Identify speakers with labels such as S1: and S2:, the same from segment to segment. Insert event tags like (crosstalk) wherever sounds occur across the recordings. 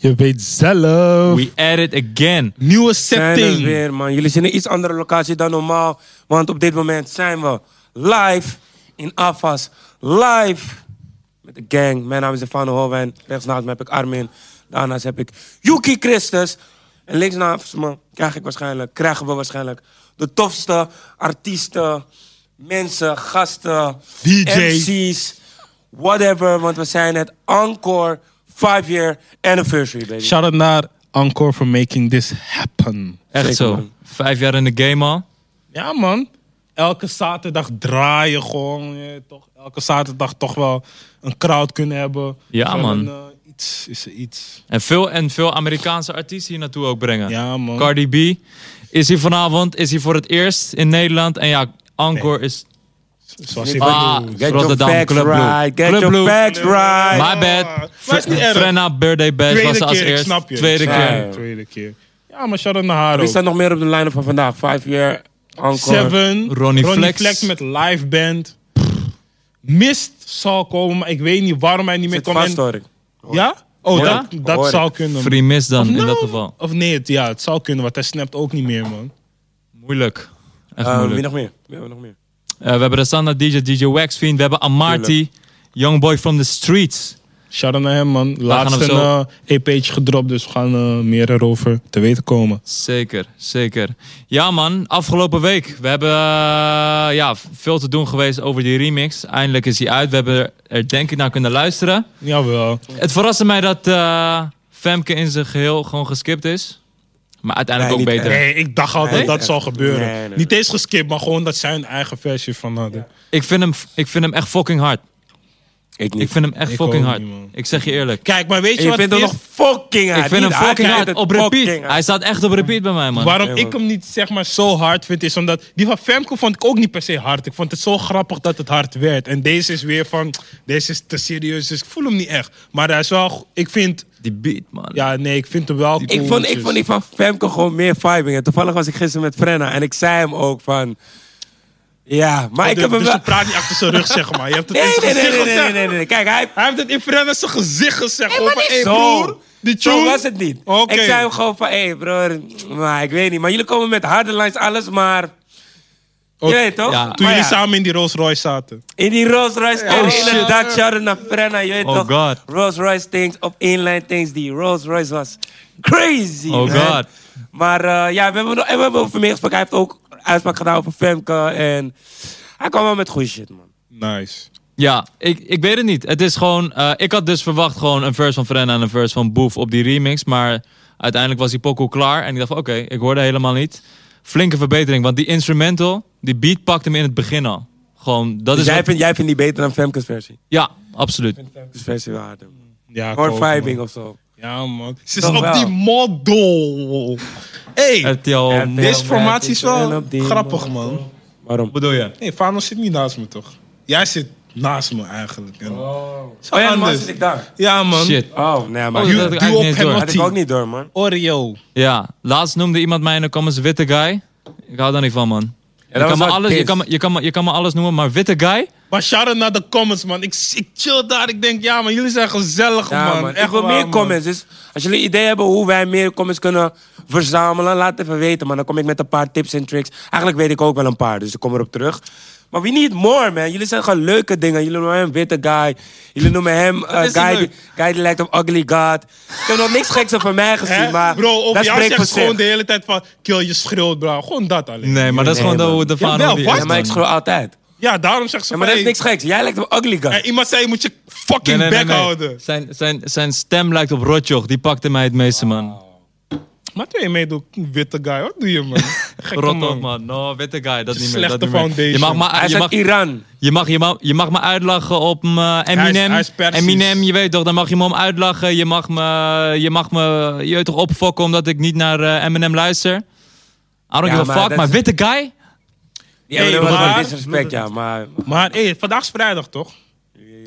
S1: Je weet zelf.
S2: We at it again.
S1: Nieuwe
S3: Zijn er
S1: setting.
S3: weer, man. Jullie zijn in een iets andere locatie dan normaal. Want op dit moment zijn we live in AFAS. Live met de gang. Mijn naam is Stefano Holwijn. Rechts naast me heb ik Armin. Daarnaast heb ik Yuki Christus. En links naast me krijg ik waarschijnlijk, krijgen we waarschijnlijk de tofste artiesten, mensen, gasten,
S1: DJ's.
S3: MC's, whatever. Want we zijn het Encore 5-year anniversary, baby.
S1: Shout out naar Encore for making this happen.
S2: Echt
S3: Zeker,
S2: zo.
S3: man.
S2: Vijf jaar in de game al.
S1: Ja, man. Elke zaterdag draaien gewoon. je toch, elke zaterdag toch wel een crowd kunnen hebben.
S2: Ja,
S1: Gewoon een,
S2: man.
S1: eh, iets is er iets.
S2: En veel, en veel Amerikaanse artiesten hier naartoe ook brengen.
S1: Ja, man.
S2: Cardi B is hier vanavond, is hier voor het eerst in Nederland. En ja, Encore is...
S1: Zoals
S3: Niet
S1: ik
S2: Ah,
S1: bedoel.
S3: Get
S2: Rotterdam,
S3: your facts
S2: Club Blue.
S3: right. Get
S2: Club
S3: your
S2: Blue.
S3: facts right.
S2: My
S1: Maar
S2: bad.
S1: het is niet erg.
S2: Frenna Birthday Bash was
S1: Tweede
S2: ze als
S1: keer, ik
S2: eerst.
S1: snap je.
S2: Tweede
S1: Ja,
S2: keer.
S3: keer.
S1: Tweede keer. Ja, maar shout out naar haar
S3: Wie
S1: ook.
S3: staat nog meer op de line van vandaag? Five year encore.
S1: Seven.
S2: Ronnie Flex.
S1: met live band. Mist zal komen, maar ik weet niet waarom hij niet meer
S3: Zit
S1: komt.
S3: vast
S1: En-
S3: hoor ik.
S1: Ja? Oh,
S2: Ja?
S1: dat, dat
S3: Hoor ik.
S1: zou kunnen.
S2: Free miss dan, in
S1: Nou,
S2: dat geval.
S1: Of nee, het, ja, het zou kunnen, want hij snapt ook niet meer, man.
S2: Moeilijk. Echt
S3: Eh,
S2: moeilijk.
S3: wie nog meer? Wie hebben we nog meer?
S2: Eh, we hebben de standaard DJ, DJ Waxfiend. We hebben Amarty. Youngboy from the streets.
S1: Shout out naar hem, man. Laatst
S2: gaan
S1: een
S2: hem zo-
S1: eh, EP'tje gedropt, dus we gaan eh, meer erover te weten komen.
S2: Zeker, zeker. Ja man, afgelopen week. We hebben eh, ja, veel te doen geweest over die remix. Eindelijk is die uit. We hebben er denk ik naar kunnen luisteren.
S1: Jawel.
S2: Het verraste mij dat eh, Femke in zijn geheel gewoon geskipt is. Maar uiteindelijk
S3: Nee,
S2: ook
S3: niet
S2: beter.
S1: Nee, ik dacht al
S3: Nee,
S1: dat dat
S3: echt.
S1: zou gebeuren.
S3: Nee, nee, nee.
S1: Niet eens geskipt, maar gewoon dat zij een eigen versie van hadden.
S2: Ik, vind hem, ik vind hem echt fucking hard.
S3: Ik
S2: Ik vind hem echt
S1: Ik
S2: fucking
S1: ook
S2: hard.
S1: niet, man.
S2: ik zeg je eerlijk.
S1: Kijk, maar weet je
S3: Ik
S1: wat
S3: vind
S1: het
S3: hem
S1: is?
S3: nog fucking hard.
S2: ik vind hem
S3: Niet- hij
S2: fucking
S3: krijgt
S2: hard.
S3: het
S2: Op repeat.
S3: fucking hard.
S2: Hij staat echt op repeat bij mij man.
S1: Waarom
S3: Nee,
S1: ik hem niet zeg maar, zo hard vind, is omdat die van Femke vond ik ook niet per se hard. Ik vond het zo grappig dat het hard werd. En deze is weer van, deze is te serieus, dus ik voel hem niet echt. Maar hij is wel, ik vind,
S2: Die beat man.
S1: ja nee, ik vind hem wel dus-
S3: Ik vond,
S2: dus.
S3: ik vond die van Femke gewoon meer vibing. En toevallig was ik gisteren met Frenna en ik zei hem ook van... Ja, maar ik heb hem
S1: dus
S3: wel...
S1: je praat niet achter zijn rug, zeg maar. Je hebt het in
S3: Nee,
S1: zijn
S3: nee, nee,
S1: gezicht
S3: nee, nee,
S1: gezegd.
S3: nee, nee, nee. Kijk, hij...
S1: Hij heeft het in Frenna zijn gezicht gezegd. Gewoon van, hey,
S3: Zo.
S1: broer, die tune.
S3: Zo was het niet.
S1: Oké.
S3: Ik zei hem gewoon van, hé hey, broer, maar ik weet niet. Maar jullie komen met harde lines, alles, maar...
S1: Ook-
S3: Je weet toch?
S2: Ja.
S3: Maar
S1: Toen jullie
S3: Oh, ja.
S1: samen in die Rolls Royce zaten.
S3: In die Rolls Royce
S2: Oh,
S3: en
S2: shit.
S3: inderdaad, shout naar Frenna. Je weet
S2: Oh,
S3: toch?
S2: God.
S3: Rolls Royce things op inline things. Die Rolls Royce was crazy.
S2: Oh,
S3: man.
S2: God.
S3: Maar eh, ja, we hebben, nog- en we hebben over meer gesproken. Hij heeft ook uitspraak gedaan over Femke. En hij kwam wel met goede shit,
S2: Dus
S3: man.
S1: Nice.
S2: Ja, ik, ik weet het niet. Het is gewoon, eh, ik had dus verwacht gewoon een verse van Frenna en een verse van Boef op die remix. Maar uiteindelijk was die pokoe klaar en ik dacht van oké, ik hoorde helemaal niet. Flinke verbetering, want die instrumental, die beat pakte me in het begin al. Gewoon, dat
S3: Dus
S2: is...
S3: jij,
S2: wat-
S3: vindt, jij vindt die beter dan Femke's versie?
S2: Ja, absoluut.
S3: Femke's versie wel harder. man.
S1: Ja,
S3: More
S1: ik ook, man.
S3: vibing of zo.
S1: Ja, man. Ze is
S3: Toch
S1: op
S3: wel.
S1: die model. Hey,
S2: RTL,
S3: RTL.
S2: wat
S1: deze formatie is
S3: En
S1: wel
S3: op die
S1: grappig,
S3: model.
S1: man.
S3: Waarom?
S2: bedoel je?
S1: Nee, Fano zit niet naast me, toch? Jij zit naast me, eigenlijk. En-
S3: Oh, ja, normaal
S1: anders.
S3: zit ik daar.
S1: Ja, man.
S2: Shit.
S3: Oh, nee, maar...
S2: Oh, dat had
S1: Duw
S2: ik eigenlijk
S1: op
S2: niet
S1: hem
S2: door.
S1: op
S3: had ik ook niet door, man.
S1: Oreo.
S2: Ja, laatst noemde iemand mij in de comments witte guy. Ik hou daar niet van man.
S3: dat
S2: je,
S3: was
S2: kan me
S3: wel
S2: alles, je,
S3: pis.
S2: kan me, je, kan me, je kan me alles noemen, maar witte guy?
S1: Maar shout-out naar de comments, man. Ik, ik chill daar. Ik denk, ja, man, jullie zijn gezellig,
S3: Ja, man.
S1: man. Echt
S3: ik wil
S1: waar,
S3: meer
S1: man.
S3: comments. Dus als jullie ideeën hebben hoe wij meer comments kunnen verzamelen, laat het even weten. Maar dan kom ik met een paar tips en tricks. Eigenlijk weet ik ook wel een paar, dus ik kom erop terug. Maar we need more, man. Jullie zijn gewoon leuke dingen. Jullie noemen hem witte guy. Jullie noemen
S1: (laughs)
S3: hem eh,
S2: is niet
S3: guy,
S2: leuk.
S3: die, guy die lijkt op ugly god. Ik heb nog niks geks over mij gezien,
S1: Hè?
S3: maar
S1: bro, of
S3: dat
S1: jou
S3: spreekt voor
S1: zegt
S3: zich.
S1: gewoon de hele tijd van... Kill, je schreeuwt, bro. Gewoon dat alleen.
S2: Nee, maar dat is
S3: Nee,
S2: gewoon de-
S3: man.
S2: de
S1: Ja,
S2: vader
S1: wel,
S2: die
S1: wat?
S2: is,
S3: Ja, maar ik
S2: man.
S3: schreeuw altijd.
S1: Ja, daarom zegt ze
S3: Ja, maar dat
S1: van,
S3: is
S1: hey,
S3: niks geks. Jij lijkt op ugly
S1: eh,
S3: god.
S1: Iemand zei, je moet je fucking
S2: Nee, nee, nee,
S1: bek
S2: nee.
S1: houden.
S2: Zijn, zijn, zijn stem lijkt op Rotjoch. Die pakte mij het meeste,
S1: Ah.
S2: man.
S1: Maar toen je meedoet, witte guy, wat doe je,
S2: (laughs)
S1: man? Gekke
S2: Rot op, man. No, witte guy. Dat
S1: is
S2: niet
S1: een
S2: meer. Dat
S1: slechte
S2: niet meer. Je
S1: foundation.
S2: mag,
S3: Hij
S2: maar,
S3: is
S2: je, mag,
S3: uit Iran.
S2: je, mag, je, mag, je mag me uitlachen op m, eh,
S1: is-
S2: Eminem.
S1: hij is Persisch.
S2: Eminem, je weet toch, dan mag je me om uitlachen. Je mag me, je mag me je weet toch, opfokken omdat ik niet naar eh, Eminem luister. I don't
S3: Ja,
S2: give a
S3: maar
S2: fuck,
S3: dat
S2: maar
S3: is-
S2: witte guy?
S3: Ja,
S1: Hey,
S3: dat was wel
S1: maar-
S3: disrespect, ja. Maar
S1: Maar hey, vandaag is vrijdag, toch?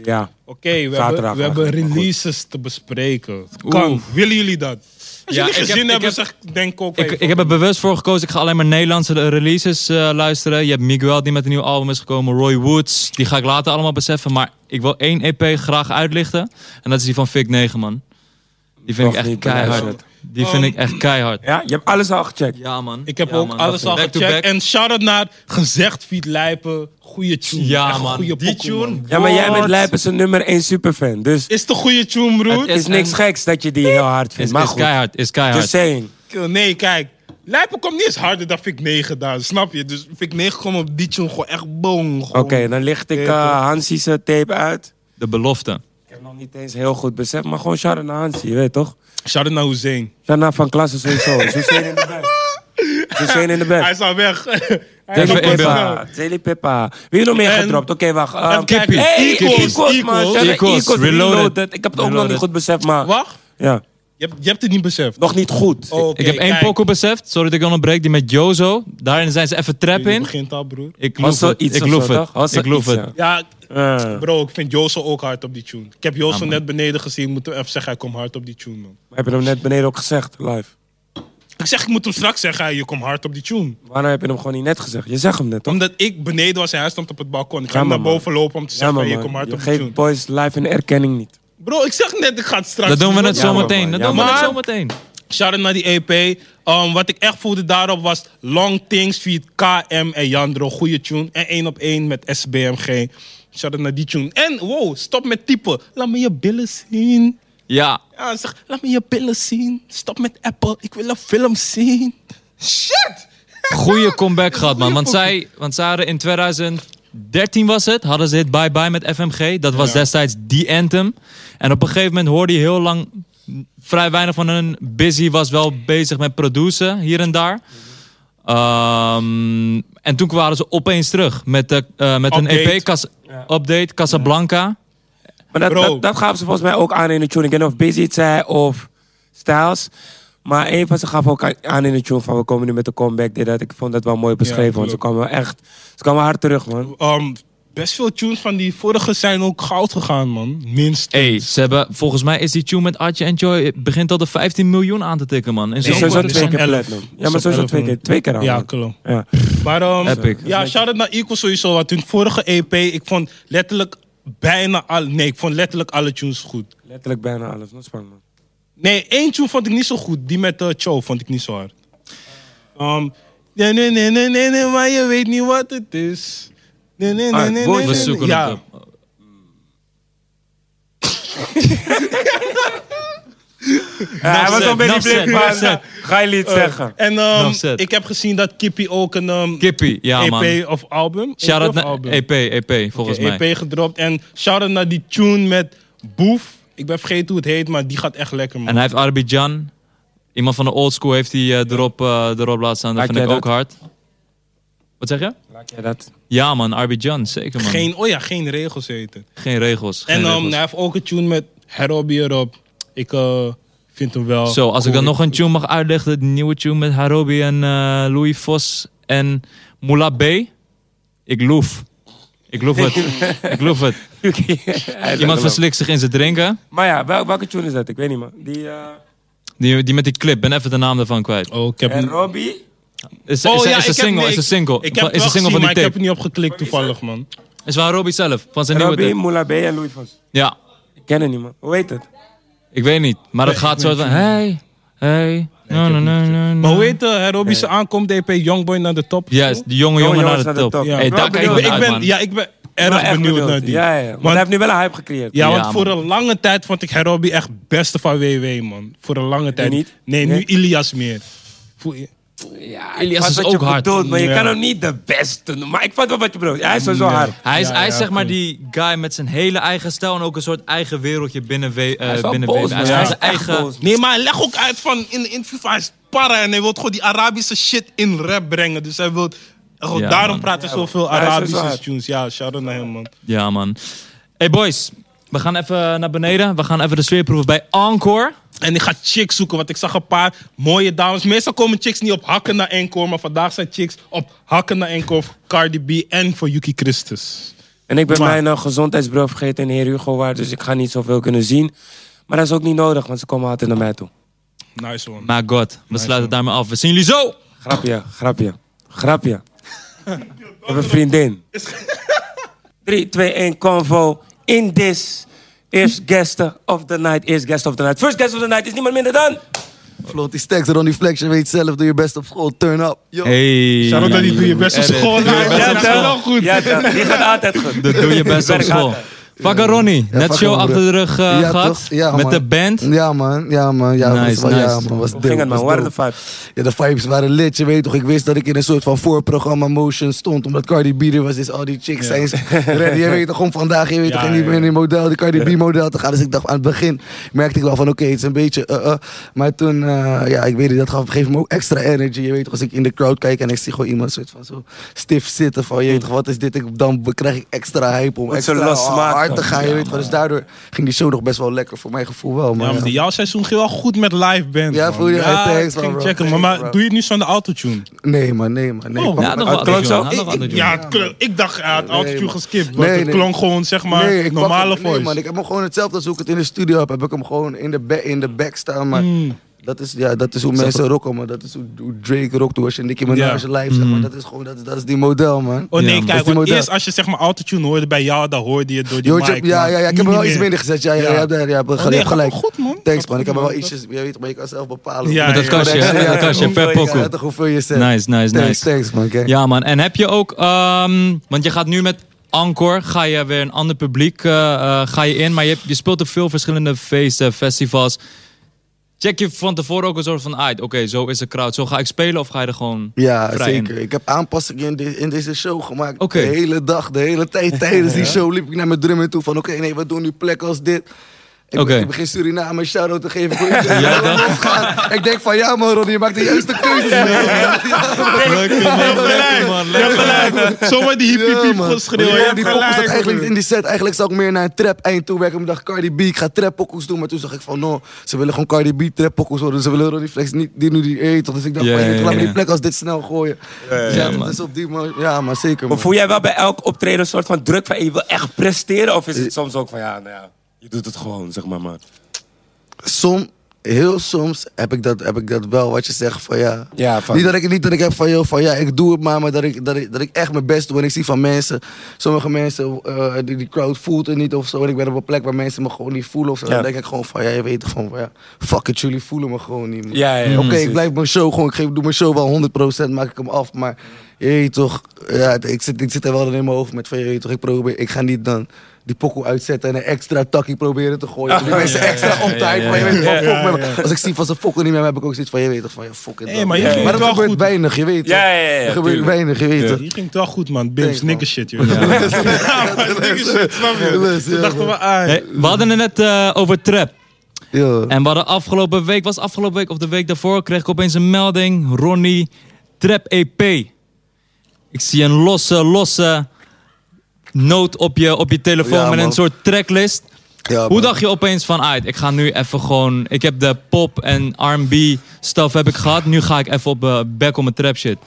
S3: ja.
S1: Oké, we,
S3: Zaterdag
S1: hebben, we hebben
S3: eigenlijk, maar goed.
S1: releases te bespreken. Het kan.
S2: Oeh.
S1: Willen jullie dat? Als
S2: Ja,
S1: jullie
S2: ik heb-
S1: gezien
S2: ik
S1: hebben,
S2: heb-
S1: zeg ik denk ook...
S2: Ik,
S1: even.
S2: ik heb er bewust voor gekozen. Ik ga alleen maar Nederlandse eh, releases eh, luisteren. Je hebt Miguel die met een nieuw album is gekomen. Roy Woods. Die ga ik E later allemaal beseffen. Maar ik wil één EP graag uitlichten. En dat is die van Fik 9, man. Die vind ik
S3: Nog
S2: echt
S3: niet
S2: keihard.
S3: beluisterd.
S2: Die vind ik echt keihard.
S3: Ja, je hebt alles al gecheckt.
S2: Ja, man.
S1: Ik heb
S2: Ja,
S1: ook
S2: man.
S1: alles al
S2: Back to
S1: gecheckt.
S2: back.
S1: En shout-out naar gezegd Fiet Lijpen. Goeie tune.
S2: Ja,
S1: Echt
S2: man.
S1: Goeie
S2: Die
S1: pokoe, man.
S2: tune.
S3: Ja, maar jij
S2: What?
S3: bent Lijpers een nummer 1 superfan. Dus het
S1: Is de goede tune, broer?
S2: Het
S3: is niks
S2: en-
S3: geks dat je die heel hard
S2: Is,
S3: vindt. Maar
S2: is
S3: goed, Dus
S2: keihard, is keihard.
S3: just saying.
S1: eh, Nee, kijk. Lijpen komt niet eens harder dan Fik 9 daar, snap je? Dus Fik 9 komt op die tune gewoon echt boom.
S3: Oké,
S2: nou-
S3: dan licht ik eh Hansi's eh, tape uit.
S2: De belofte.
S3: Ik heb nog niet eens heel goed beseft, maar gewoon shout-out naar Hansi, je weet toch?
S1: Shout-out naar Hussein.
S3: Shout-out van klasse sowieso. Zoezeen in de bed. Zoezeen in de bed.
S1: Hij is al weg. (laughs) Hij
S2: Even
S1: loopt al
S2: in beeld.
S1: snel.
S3: Pippa, Jelly Pippa. Wie heeft nog meer
S1: En-
S3: gedropt? Oké, wacht. ehm,
S1: en Kippie.
S3: Hey,
S1: Equals,
S3: Equals, man.
S1: Equals,
S3: Shout out
S2: Equals,
S3: Equals,
S2: Reloaded.
S3: reloaded. Ik heb het ook nog
S2: Reloaded.
S3: niet goed beseft, maar...
S1: Wacht,
S3: Ja,
S1: je hebt, je hebt het niet beseft.
S3: nog niet goed.
S1: Oké,
S2: ik heb één
S1: kijk.
S2: pokoe beseft. Sorry dat ik onderbreek. Die met Jozo. Daarin zijn ze even trap
S1: Je
S2: in.
S1: begint al, broer.
S2: Ik
S3: Was
S2: loof
S3: zo
S2: het.
S3: iets
S2: Ik
S3: of
S2: loof
S3: zo, toch? Was
S2: het.
S3: zo
S2: Ik loof
S3: iets,
S2: het.
S1: Ja,
S3: Eh,
S1: bro, ik vind Jozo ook hard op die tune. Ik heb Jozo net beneden gezien. Ik moet hem even zeggen, hij komt hard op die tune, man.
S3: heb je hem net beneden ook gezegd, live?
S1: Ik zeg, ik moet hem straks zeggen, hey, je komt hard op die tune.
S3: Waarom heb je hem gewoon niet net gezegd? Je zegt hem net, toch?
S1: Omdat ik beneden was en hij stond op het balkon. Ik ga
S3: Ja,
S1: hem naar
S3: maar, man.
S1: boven lopen om te zeggen,
S3: maar,
S1: hey, je
S3: man,
S1: komt hard
S3: je
S1: op die
S3: geeft
S1: tune.
S3: boys live een erkenning niet.
S1: Bro, ik zeg net, ik ga het straks
S2: Dat doen we
S1: net
S2: het
S1: zo.
S2: zo
S3: Jammer,
S2: meteen.
S3: man.
S2: Dat doen we het
S1: Jammer.
S2: zo meteen.
S1: Shout-out naar die EP. Ehm, wat ik echt voelde daarop was Long Things feat KM en Jandro. Goeie tune. En 1 op 1 met SBMG. Shout-out naar die tune. En wow, stop met typen. Laat me je billen zien.
S2: Ja.
S1: Ja, zeg, laat me je billen zien. Stop met appen. Ik wil een film zien. Shit!
S2: Goeie comeback gehad, man.
S1: Goeie
S2: Want zij, want zij hadden in 2013 was het, hadden ze dit Bye Bye met FMG. Dat was destijds die anthem. En op een gegeven moment hoorde je heel lang m, vrij weinig van hun. Busy was wel bezig met produceren hier en daar. Ehm, en toen kwamen ze opeens terug met, de, eh, met een
S1: Update.
S2: EP, Cas- Update, Casablanca.
S3: Maar dat,
S1: Bro.
S3: dat, dat gaven ze volgens mij ook aan in de tune. Ik weet niet of Busy het zei of Styles. Maar een van ze gaf ook aan- aan in de tune van we komen nu met de comeback. Dit, dat. Ik vond dat wel mooi beschreven. want ze
S1: klopt.
S3: kwamen echt ze kwamen hard terug, man.
S1: Ehm, best veel tunes van die vorige zijn ook goud gegaan, man. Minstens.
S2: Ey, ze hebben, volgens mij is die tune met Artje en Joy, het begint al de 15 miljoen aan te tikken, man. En
S1: Nee,
S2: zo
S3: Dus sowieso
S1: het is
S3: twee
S1: op
S3: keer
S1: elf.
S3: platinum.
S1: Het
S3: Ja,
S1: is
S3: maar
S1: op
S3: sowieso
S1: elf,
S3: twee
S1: man.
S3: keer. Twee keer al.
S1: Ja,
S3: man.
S1: klopt.
S3: Ja.
S1: Maar ehm,
S2: Epic.
S1: ja, shout-out naar Equal sowieso. Want hun vorige EP, ik vond letterlijk bijna al, Nee, ik vond letterlijk alle tunes goed.
S3: Letterlijk bijna alles. Not spannend, man.
S1: Nee, één tune vond ik niet zo goed. Die met eh Cho vond ik niet zo hard. Ehm, nee, nee, nee, nee, nee, nee, maar je weet niet wat het is. Nee, nee, nee,
S3: Ah,
S1: nee,
S3: boy,
S1: nee,
S2: we
S1: nee,
S2: zoeken
S1: nee.
S2: het
S1: Ja,
S2: op.
S3: hij was al
S2: said,
S3: bij die
S2: enough said,
S3: blik,
S2: enough
S3: maar
S2: said.
S3: nou, ga je
S1: Eh.
S3: niet zeggen.
S1: En
S2: Enough
S1: ehm
S2: said.
S1: ik heb gezien dat Kippie ook een ehm,
S2: Kippie, ja, man.
S1: EP of album.
S2: Shout-out
S1: EP of E
S2: naar E EP, EP, volgens mij.
S1: EP gedropt. En shout-out naar die tune met Boef. Ik ben vergeten hoe het heet, maar die gaat echt lekker, man.
S2: En hij heeft Arbidjan. Iemand van de old school heeft die eh, erop, eh, erop laten staan. Dat
S3: Laat
S2: vind ik
S3: jij
S2: ook
S3: dat?
S2: hard. Wat zeg je?
S3: Laat jij dat. (laughs)
S2: Ja man, Arbidjan, zeker man. Geen,
S1: Geen, oh ja, geen regels heten.
S2: regels. ehm, Geen
S1: En um,
S2: regels.
S1: hij heeft ook een tune met Harobi erop. Ik eh, vind hem wel.
S2: Zo, als ik dan
S1: cool.
S2: nog een tune mag uitleggen. De nieuwe tune met Harobi en eh, Louis Vos en Moula B. Ik loef. Ik loef
S1: (laughs)
S2: het. ik loef het. Iemand verslikt zich in zijn drinken.
S3: Maar ja, wel- welke tune is dat? Ik weet niet, man. Die, eh
S2: Die, die met die clip. Ben even de naam daarvan kwijt.
S1: Oh, ik heb
S3: en
S1: hem-
S3: Robbie?
S2: Is,
S1: Oh
S2: is,
S1: ja,
S2: is een
S1: ik heb-
S2: single.
S1: nee,
S2: is een
S1: ik-
S2: single.
S1: Ik heb
S2: Van- is een single
S1: gezien,
S2: van
S1: maar
S2: die
S1: ik heb
S2: tape.
S1: het niet opgeklikt toevallig, man.
S2: Is van Harobi zelf. Van zijn nieuwe
S3: Robbie,
S2: tape.
S3: Moula B en Louis Vos.
S2: Ja.
S3: Ik ken het niet, man. Hoe heet het?
S2: Ik weet niet, maar het gaat zo van... Hey, hey, no, no, no, no,
S1: Maar
S2: no.
S1: hoe heet uh, Harobi zijn aankomst EP Youngboy naar de top?
S2: Yes, die jonge jongen
S3: jongens
S2: naar de top.
S1: Ja.
S2: Hey,
S3: Wel
S2: daar kijk ik
S3: benieuwd.
S1: ik
S2: naar uit, man.
S1: ben, ja, ik ben erg
S3: echt
S1: benieuwd naar die.
S3: Ja, ja. Want
S1: Want-
S3: hij heeft nu wel een hype gecreëerd.
S1: Ja,
S2: Ja,
S1: want
S2: man.
S1: voor een lange tijd vond ik Herobi echt beste van WW, man. Voor een lange tijd.
S3: niet?
S1: Nee, nu
S3: Nee?
S1: Ilias meer. Voel je?
S3: ja
S2: Elias is
S3: wat
S2: ook
S3: je
S2: hard.
S3: Bedoelt, maar je
S1: Ja.
S3: kan hem niet de beste noemen. Maar ik vat wel wat je bedoelt. Hij is sowieso hard.
S2: Hij is,
S1: Ja, eh,
S2: hij is
S1: ja,
S2: zeg maar
S1: cool.
S2: die guy met zijn hele eigen stijl en ook een soort eigen wereldje binnen we, eh,
S3: Hij is wel
S2: binnen WW.
S3: boos,
S2: Hij
S3: man.
S2: is
S3: Hij
S2: gewoon
S3: is
S2: zijn
S3: echt
S2: eigen...
S3: boos.
S1: Nee, maar hij legt ook uit van in de interview van hij is para en hij wil gewoon die Arabische shit in rap brengen. Dus hij wil. gewoon
S2: Ja,
S1: daarom
S2: man.
S1: praat hij zoveel
S3: Hij is
S1: Arabische
S3: zo hard.
S1: tunes. Ja, shout out naar hem, man.
S2: Ja, man. Hey, boys. We gaan even naar beneden. We gaan even de sfeer proeven bij Encore.
S1: En ik ga chicks zoeken, want ik zag een paar mooie dames. Meestal komen chicks niet op hakken naar Encore, maar vandaag zijn chicks op hakken naar Encore voor Cardi B en voor Yuki Christus.
S3: En ik ben
S1: Maar-
S3: mijn eh, gezondheidsbril vergeten in Heer Hugo Waard. Dus ik ga niet zoveel kunnen zien. Maar dat is ook niet nodig, want ze komen altijd naar mij toe.
S1: Nice one.
S2: My god, we sluiten het daarmee af. We zien jullie zo!
S3: Grapje, grapje,
S1: (laughs)
S3: grapje. ik (laughs) heb een vriendin. 3, 2, 1, convo. In this. Eerst guest of the night, eerst guest of the night. First guest of the night is niemand minder dan...
S4: Floaty Stacks, Ronnie Flex, je weet zelf, doe je best op school, turn up. Yo.
S2: Hey.
S1: Shout out dat je doe je best op
S2: Edit.
S1: school.
S2: Doe je best
S1: Ja,
S2: op
S1: dat
S2: school.
S1: is wel goed.
S3: Ja, ja, die gaat altijd goed.
S2: Dat doe je best op
S3: (laughs) Werk
S2: school.
S3: altijd.
S2: Vakken Ronnie,
S4: Ja,
S2: net
S4: fuck
S2: show
S4: hem,
S2: achter de
S4: broer.
S2: rug eh,
S4: Ja,
S2: gehad.
S4: toch? Ja,
S2: met
S4: man.
S2: de band.
S4: Ja, man. Ja, man. Ja,
S2: Nice,
S4: was, wel- ja,
S2: nice.
S4: man. Was
S3: Hoe ging het man? Hoe
S4: dope, was
S3: waren de
S4: dope.
S3: vibes?
S4: Ja, de vibes waren lit. Je weet toch, ik wist dat ik in een soort van voorprogramma motion stond. Omdat Cardi B er was, dus al die chicks zijn ready. Je weet toch, om vandaag, je weet
S1: Ja,
S4: toch, in die,
S1: ja, ja.
S4: in die model, de Cardi B model te gaan. Dus ik dacht, aan het begin merkte ik wel van, oké, het is een beetje eh eh. Maar toen, eh, ja, ik weet niet, dat gaf, geeft me ook extra energy. Je weet toch, als ik in de crowd kijk en ik zie gewoon iemand soort van zo stif zitten. Van, je weet toch, wat is dit? Ik, dan krijg ik extra hype om
S3: Wat zo
S4: extra
S3: los smaakt
S4: hard te
S3: dan.
S4: gaan. Je weet toch, dus daardoor ging die show nog best wel lekker, voor mijn gevoel wel. Maar,
S1: Ja, maar die- jouw seizoen ging wel goed met live band.
S4: Ja,
S1: man.
S4: voel je-
S1: Ja,
S4: hey, thanks,
S1: ik ging
S4: man, bro.
S1: checken. Maar,
S4: Thanks,
S1: maar
S4: bro.
S1: doe je het nu zonder autotune?
S4: Nee, man, nee, man. Nee,
S1: Oh,
S4: Pak
S2: Ja,
S4: me
S2: nog
S4: uit.
S2: wat.
S3: klonk
S2: John,
S3: zo.
S2: had nog
S3: Ik-
S2: wat,
S1: Ik-
S2: John.
S1: ja, het klonk- ik dacht, ja, het autotune
S4: man.
S1: geskipt. Want
S4: Nee,
S1: het
S4: nee.
S1: klonk gewoon, zeg maar,
S4: Nee, ik pak
S1: normale
S4: hem, nee,
S1: voice.
S4: man, ik heb hem gewoon hetzelfde als hoe ik het in de studio heb. Heb ik hem gewoon in de, ba- in de back staan. Maar
S1: Mm.
S4: dat, is, ja, dat is hoe mensen rocken, man. Dat is hoe, hoe Drake rockt, hoe als je Nicki Minaj
S1: Ja. Mm.
S4: live, zeg maar. Dat is gewoon, dat, is- dat is die model, man.
S1: Oh nee,
S2: Ja,
S4: dat
S1: kijk,
S4: is die
S1: want
S4: model.
S1: eerst als je zeg maar autotune hoorde bij jou, dan hoorde je het door die
S4: Je hoort
S1: mic.
S4: je- ja,
S1: maar
S4: ja, ja, ik
S1: nu
S4: heb hem wel
S1: niet
S4: iets
S1: meer.
S4: minder gezet. Ja, ja, ja.
S1: Ja. Oh,
S4: daar, ja,
S1: nee,
S4: je hebt
S1: gaat
S4: gelijk.
S1: goed, man.
S4: Thanks,
S1: Gaat
S4: man.
S1: goed,
S4: Ik heb hem wel
S1: man.
S4: ietsjes, je weet, maar je kan zelf bepalen.
S1: Ja,
S2: Met dat
S1: ja,
S2: kastje,
S4: (laughs) ja,
S2: met
S4: ja,
S2: dat
S4: ja.
S2: kastje per
S3: Hoeveel je-
S2: pokoe.
S4: toch hoeveel je zet.
S2: Nice, nice,
S4: Thanks,
S2: nice.
S4: thanks, man. Kijk.
S2: Ja man, en heb je ook, ehm, want je gaat nu met Encore, ga je weer een ander publiek eh, eh, ga je in, maar je, hebt- je speelt op veel verschillende feesten, festivals. Check je van tevoren ook een soort van, uit, oké, zo is de crowd, zo ga ik spelen of ga je er gewoon
S4: Ja,
S2: vrij in?
S4: zeker. Ik heb aanpassingen in, de- in deze show gemaakt.
S2: Oké.
S4: De hele dag, de hele tijd tijdens
S2: (laughs)
S4: die show liep ik naar mijn drummer toe van... Oké, nee, we doen nu plek als dit. Ik,
S2: Oké.
S4: ik begin Suriname een shout-out te geven voor
S2: (laughs)
S4: iedereen.
S2: Ja,
S4: die (laughs)
S2: dat-
S4: losgaan. Ik denk van, ja man Ronnie, je maakt de juiste keuzes.
S2: (laughs)
S4: man.
S2: Leuk man, leuk man,
S1: Je hebt gelijk. Zomaar die hippie
S4: Ja,
S1: piep
S4: man.
S1: geschreeuw.
S4: Ja,
S1: Je hebt
S4: die pokoes zat
S1: gelijk,
S4: eigenlijk niet
S1: broer.
S4: in die set. Eigenlijk zou ik meer naar een trap eind toe werken. Ik dacht Cardi B, ik ga trap pokoes doen. Maar toen zag ik van, no, ze willen gewoon Cardi B trap pokoes worden. Ze willen Ronnie Flex niet die nu die eet. Dus ik dacht,
S2: Ja,
S4: van,
S2: ja,
S4: ik laat me
S2: ja.
S4: die plek als dit snel gooien. Dus
S2: ja,
S4: Ja, dat
S2: man.
S4: is op die manier. Ja, maar zeker
S3: Maar
S4: man.
S3: voel jij wel bij elk optreden een soort van druk van hey, je wil echt presteren? Of is het soms ook van ja, nou ja, je doet het gewoon, zeg maar man.
S4: Som, heel soms heb ik, dat, heb ik dat wel, wat je zegt van ja.
S3: Ja, van-
S4: Niet, dat ik, niet dat ik heb van, joh, van ja, ik doe het maar, maar dat ik, dat, ik, dat ik echt mijn best doe. En ik zie van mensen, sommige mensen, eh, die, die crowd voelt het niet of zo. En ik ben op een plek waar mensen me gewoon niet voelen of zo.
S3: Ja.
S4: Dan denk ik gewoon van ja, je weet toch gewoon van ja, fuck it, jullie voelen me gewoon niet. man.
S3: Ja, ja, ja,
S4: Oké,
S3: precies.
S4: ik blijf mijn show gewoon, ik geef, doe mijn show wel 100%, maak ik hem af. Maar je weet toch, ja, ik, zit, ik zit er wel in mijn hoofd met van je weet toch, ik probeer, ik ga niet dan die pokoe uitzetten en een extra takkie proberen te gooien. Die mensen extra
S2: Ah, ja, ja,
S4: optuigen, maar je
S2: ja.
S4: weet toch, fuck met me. Als ik zie van ze fokken niet meer, heb ik ook zoiets van, je weet toch, van ja, fuck it.
S1: Hey,
S4: dan.
S1: maar je
S4: dat
S1: ging het wel
S4: gebeurt
S1: goed.
S4: weinig, je weet toch.
S3: Ja, ja, ja, ja,
S4: Er gebeurt
S3: tuurlijk.
S4: weinig, je weet toch.
S1: Hier ging het wel goed, man. Bims,
S4: Thanks, man.
S1: niks shit, joh. Ja, maar nigger shit, snap je?
S4: Les, ja,
S1: Toen dachten we, ah,
S2: Hey, we hadden het net eh, over trap.
S4: Ja.
S2: En we hadden afgelopen week, was afgelopen week of de week daarvoor, kreeg ik opeens een melding. Ronnie, trap EP. Ik zie een losse, losse noot op je, op je telefoon
S4: Ja,
S2: met een
S4: man.
S2: soort tracklist.
S4: Ja,
S2: Hoe
S4: man.
S2: dacht je opeens van, uit, ik ga nu even gewoon... Ik heb de pop en R&B stuff heb ik gehad. Nu ga ik even op eh, back op mijn trap shit.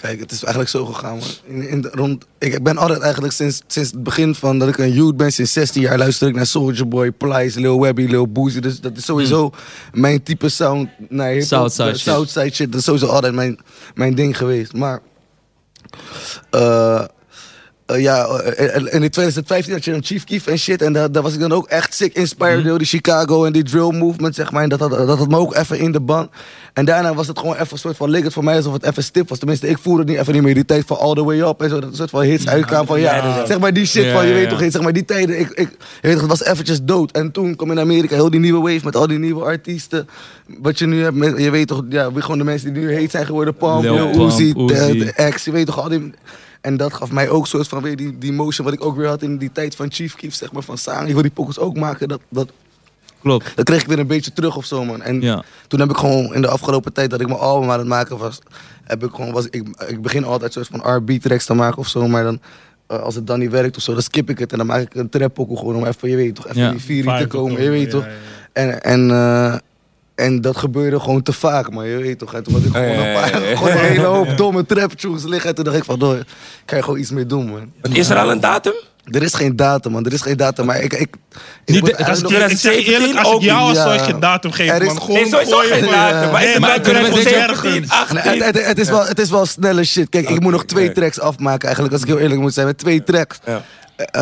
S4: Kijk, het is eigenlijk zo gegaan, man. In, in de- rond, ik, ik ben altijd eigenlijk sinds, sinds het begin van dat ik een youth ben, sinds 16 jaar, luister ik naar Soulja Boy, Plies, Lil Webby, Lil Boozy. Dus dat is sowieso
S3: Hmm.
S4: mijn type sound. Nee, hip-hop,
S2: Southside
S4: eh,
S2: shit.
S4: Southside shit. Dat is sowieso altijd mijn, mijn ding geweest. Maar eh, eh, ja, eh, eh, en in 2015 had je dan Chief Keef en shit. En daar, daar was ik dan ook echt sick inspired door die Chicago en die drill movement, zeg maar. En dat had, dat had me ook even in de band. En daarna was het gewoon even een soort van, leek het voor mij alsof het even stip was. Tenminste, ik voelde het niet even niet meer die tijd van All The Way Up en zo. Dat een soort van hits uitkwamen van, ja, zeg maar die shit
S2: Ja,
S4: van, je
S2: ja,
S4: weet
S2: ja.
S4: toch geen zeg maar die tijden, ik, ik, je weet, het was eventjes dood. En toen kwam in Amerika heel die nieuwe wave met al die nieuwe artiesten. Wat je nu hebt, met, je weet toch, ja, wie gewoon de mensen die nu heet zijn geworden. Pump,
S2: Lil
S4: Lil
S2: Pump,
S4: Uzi, de-
S2: Uzi.
S4: de X, je weet toch al die... En dat gaf mij ook soort van weer die, die motion wat ik ook weer had in die tijd van Chief Keef, zeg maar, van Saan. Ik wil die pokus ook maken, dat, dat,
S2: Klopt.
S4: dat kreeg ik weer een beetje terug of zo, man. En
S2: Ja.
S4: toen heb ik gewoon in de afgelopen tijd dat ik mijn album aan het maken was, heb ik gewoon, was ik, ik begin altijd soort van R&B-tracks te maken of zo, maar dan, eh, als het dan niet werkt of zo, dan skip ik het en dan maak ik een trap ook gewoon om even, je weet toch, even
S2: Ja,
S4: die viering
S1: vibe
S4: te
S1: te
S4: komen, je
S1: komen,
S4: weet
S1: ja,
S4: toch.
S1: ja.
S4: En, en, eh, en dat gebeurde gewoon te vaak, man, je weet toch. En toen had ik gewoon,
S3: Oh, ja,
S4: een, paar,
S3: ja, ja.
S4: (laughs) gewoon een hele hoop domme trap tunes liggen en toen dacht ik van, door, kan je gewoon iets mee doen, man.
S3: Is er al een datum?
S4: Er is geen datum, man, er is geen datum, maar ik... ik, ik
S2: Niet
S4: moet
S2: de- als
S4: eigenlijk
S3: het
S4: nog-
S1: Ik zeg je eerlijk, als ik jou als
S4: Ja.
S1: zoals je datum geef,
S4: Er is
S1: man,
S4: geen-
S1: gewoon
S3: Nee, sowieso
S1: gooi je
S3: geen
S1: gewoon-
S3: datum. Maar is
S1: Nee,
S3: er
S1: maar
S3: wel
S1: kunnen we
S3: een
S1: dit
S3: datum?
S1: ergens?
S3: 17,
S4: Ah,
S3: 18?
S4: Nee, het, het, het is wel, het is wel snelle shit. Kijk, ik moet nog twee tracks afmaken eigenlijk, als ik heel eerlijk moet zijn. Met twee tracks.
S3: Ja.
S4: Eh,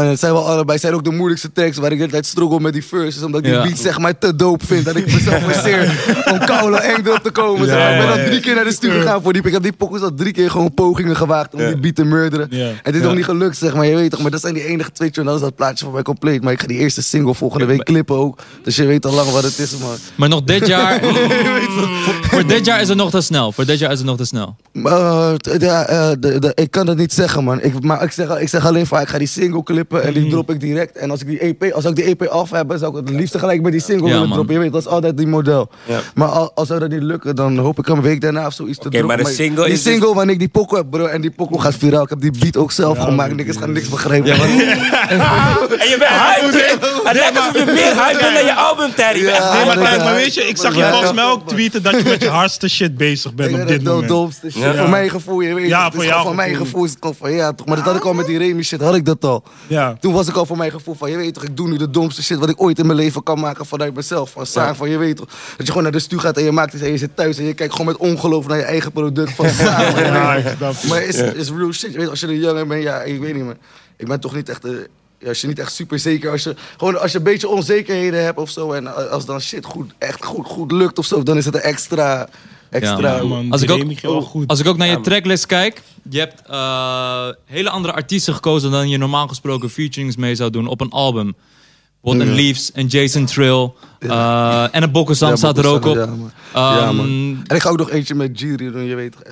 S4: En het zijn wel allebei, het zijn ook de moeilijkste tracks waar ik de hele tijd struggle met die verses. Omdat ik die
S2: Ja.
S4: beat zeg maar te dope vind. Dat ik mezelf forceer om koude eng erop te komen. zeg maar.
S1: ja,
S4: ik ben
S1: ja,
S4: al drie keer naar de studio gegaan voor die. Ik heb die pokkers al drie keer gewoon pogingen gewaagd om die beat te murderen.
S1: Ja.
S4: En dit is nog niet gelukt zeg maar. Je weet toch, maar dat zijn die enige twee tunes. Dan is dat plaatje voor mij compleet. Maar ik ga die eerste single volgende week clippen ook. Dus je weet al lang wat het is man.
S2: Maar nog dit
S4: (laughs)
S2: jaar. Voor- voor dit jaar is het nog te snel. Voor dit jaar is het nog te snel.
S4: Eh, t- ja, eh, de- de- ik kan dat niet zeggen, man. Ik, maar ik zeg, ik zeg alleen van, ik ga die single clippen en die
S1: Hmm.
S4: drop ik direct. En als ik die EP, als ik die EP af heb, zou ik het liefst gelijk met die single
S2: Ja,
S4: willen
S2: man.
S4: droppen. Je weet, dat is altijd die model.
S3: Ja.
S4: Maar al- als zou dat niet lukken, dan hoop ik een week daarna of zoiets te
S3: Oké,
S4: droppen.
S3: maar de single
S4: die
S3: is dus-
S4: single, wanneer ik die pokoe heb, bro, en die pokoe gaat viraal. Ik heb die beat ook zelf gemaakt. Niks gaan niks begrijpen. (laughs) man.
S3: En je bent hyped. Het lijkt alsof je meer hyped bent dan je album, Terry.
S4: Ja.
S1: Nee, maar,
S4: Ja,
S1: Thijs, maar
S4: ja.
S1: weet je, ik zag je
S4: Ja,
S1: volgens
S4: ja.
S1: mij ook tweeten dat je met je hardste shit bezig
S4: Ik
S1: bent op
S4: weet
S1: dit
S4: het, dat
S1: moment.
S4: domste shit. Voor mijn gevoel, je weet
S1: Ja,
S4: het. Het
S1: voor
S4: is
S1: jouw
S4: gewoon Voor mijn
S1: gevoel.
S4: gevoel is het gewoon van, ja toch. Maar dat had ik al met die Remy shit, had ik dat al.
S1: Ja.
S4: Toen was ik al voor mijn gevoel van, je weet toch, ik doe nu de domste shit wat ik ooit in mijn leven kan maken vanuit mezelf. Van Saar, van je weet toch. Dat je gewoon naar de stuur gaat en je maakt iets en je zit thuis en je kijkt gewoon met ongeloof naar je eigen product
S1: (laughs)
S4: van Saar. man.
S1: Ja, ik snap je.
S4: Maar het is, is real shit. Je weet, als je een jongen bent, ja, ik weet niet meer. Ik ben toch niet echt. eh, ja, als je niet echt super zeker, als je, gewoon als je een beetje onzekerheden hebt of zo. En eh, als dan shit goed, echt goed, goed lukt of zo, dan is het een extra. extra
S1: Ja, man,
S2: Als
S1: als
S2: ik
S1: ik
S2: ook-
S1: wel goed.
S2: Als ik ook naar je tracklist kijk, je hebt eh, hele andere artiesten gekozen dan je normaal gesproken featurings mee zou doen op een album. Bot and Leaves en Jason Trill. eh, en een Bokkesam
S4: Ja,
S2: staat er ook op.
S4: Ja, man. Ja,
S2: Ehm,
S4: man.
S2: Oh,
S4: En ik ga ook nog eentje met Jiri doen, je weet toch.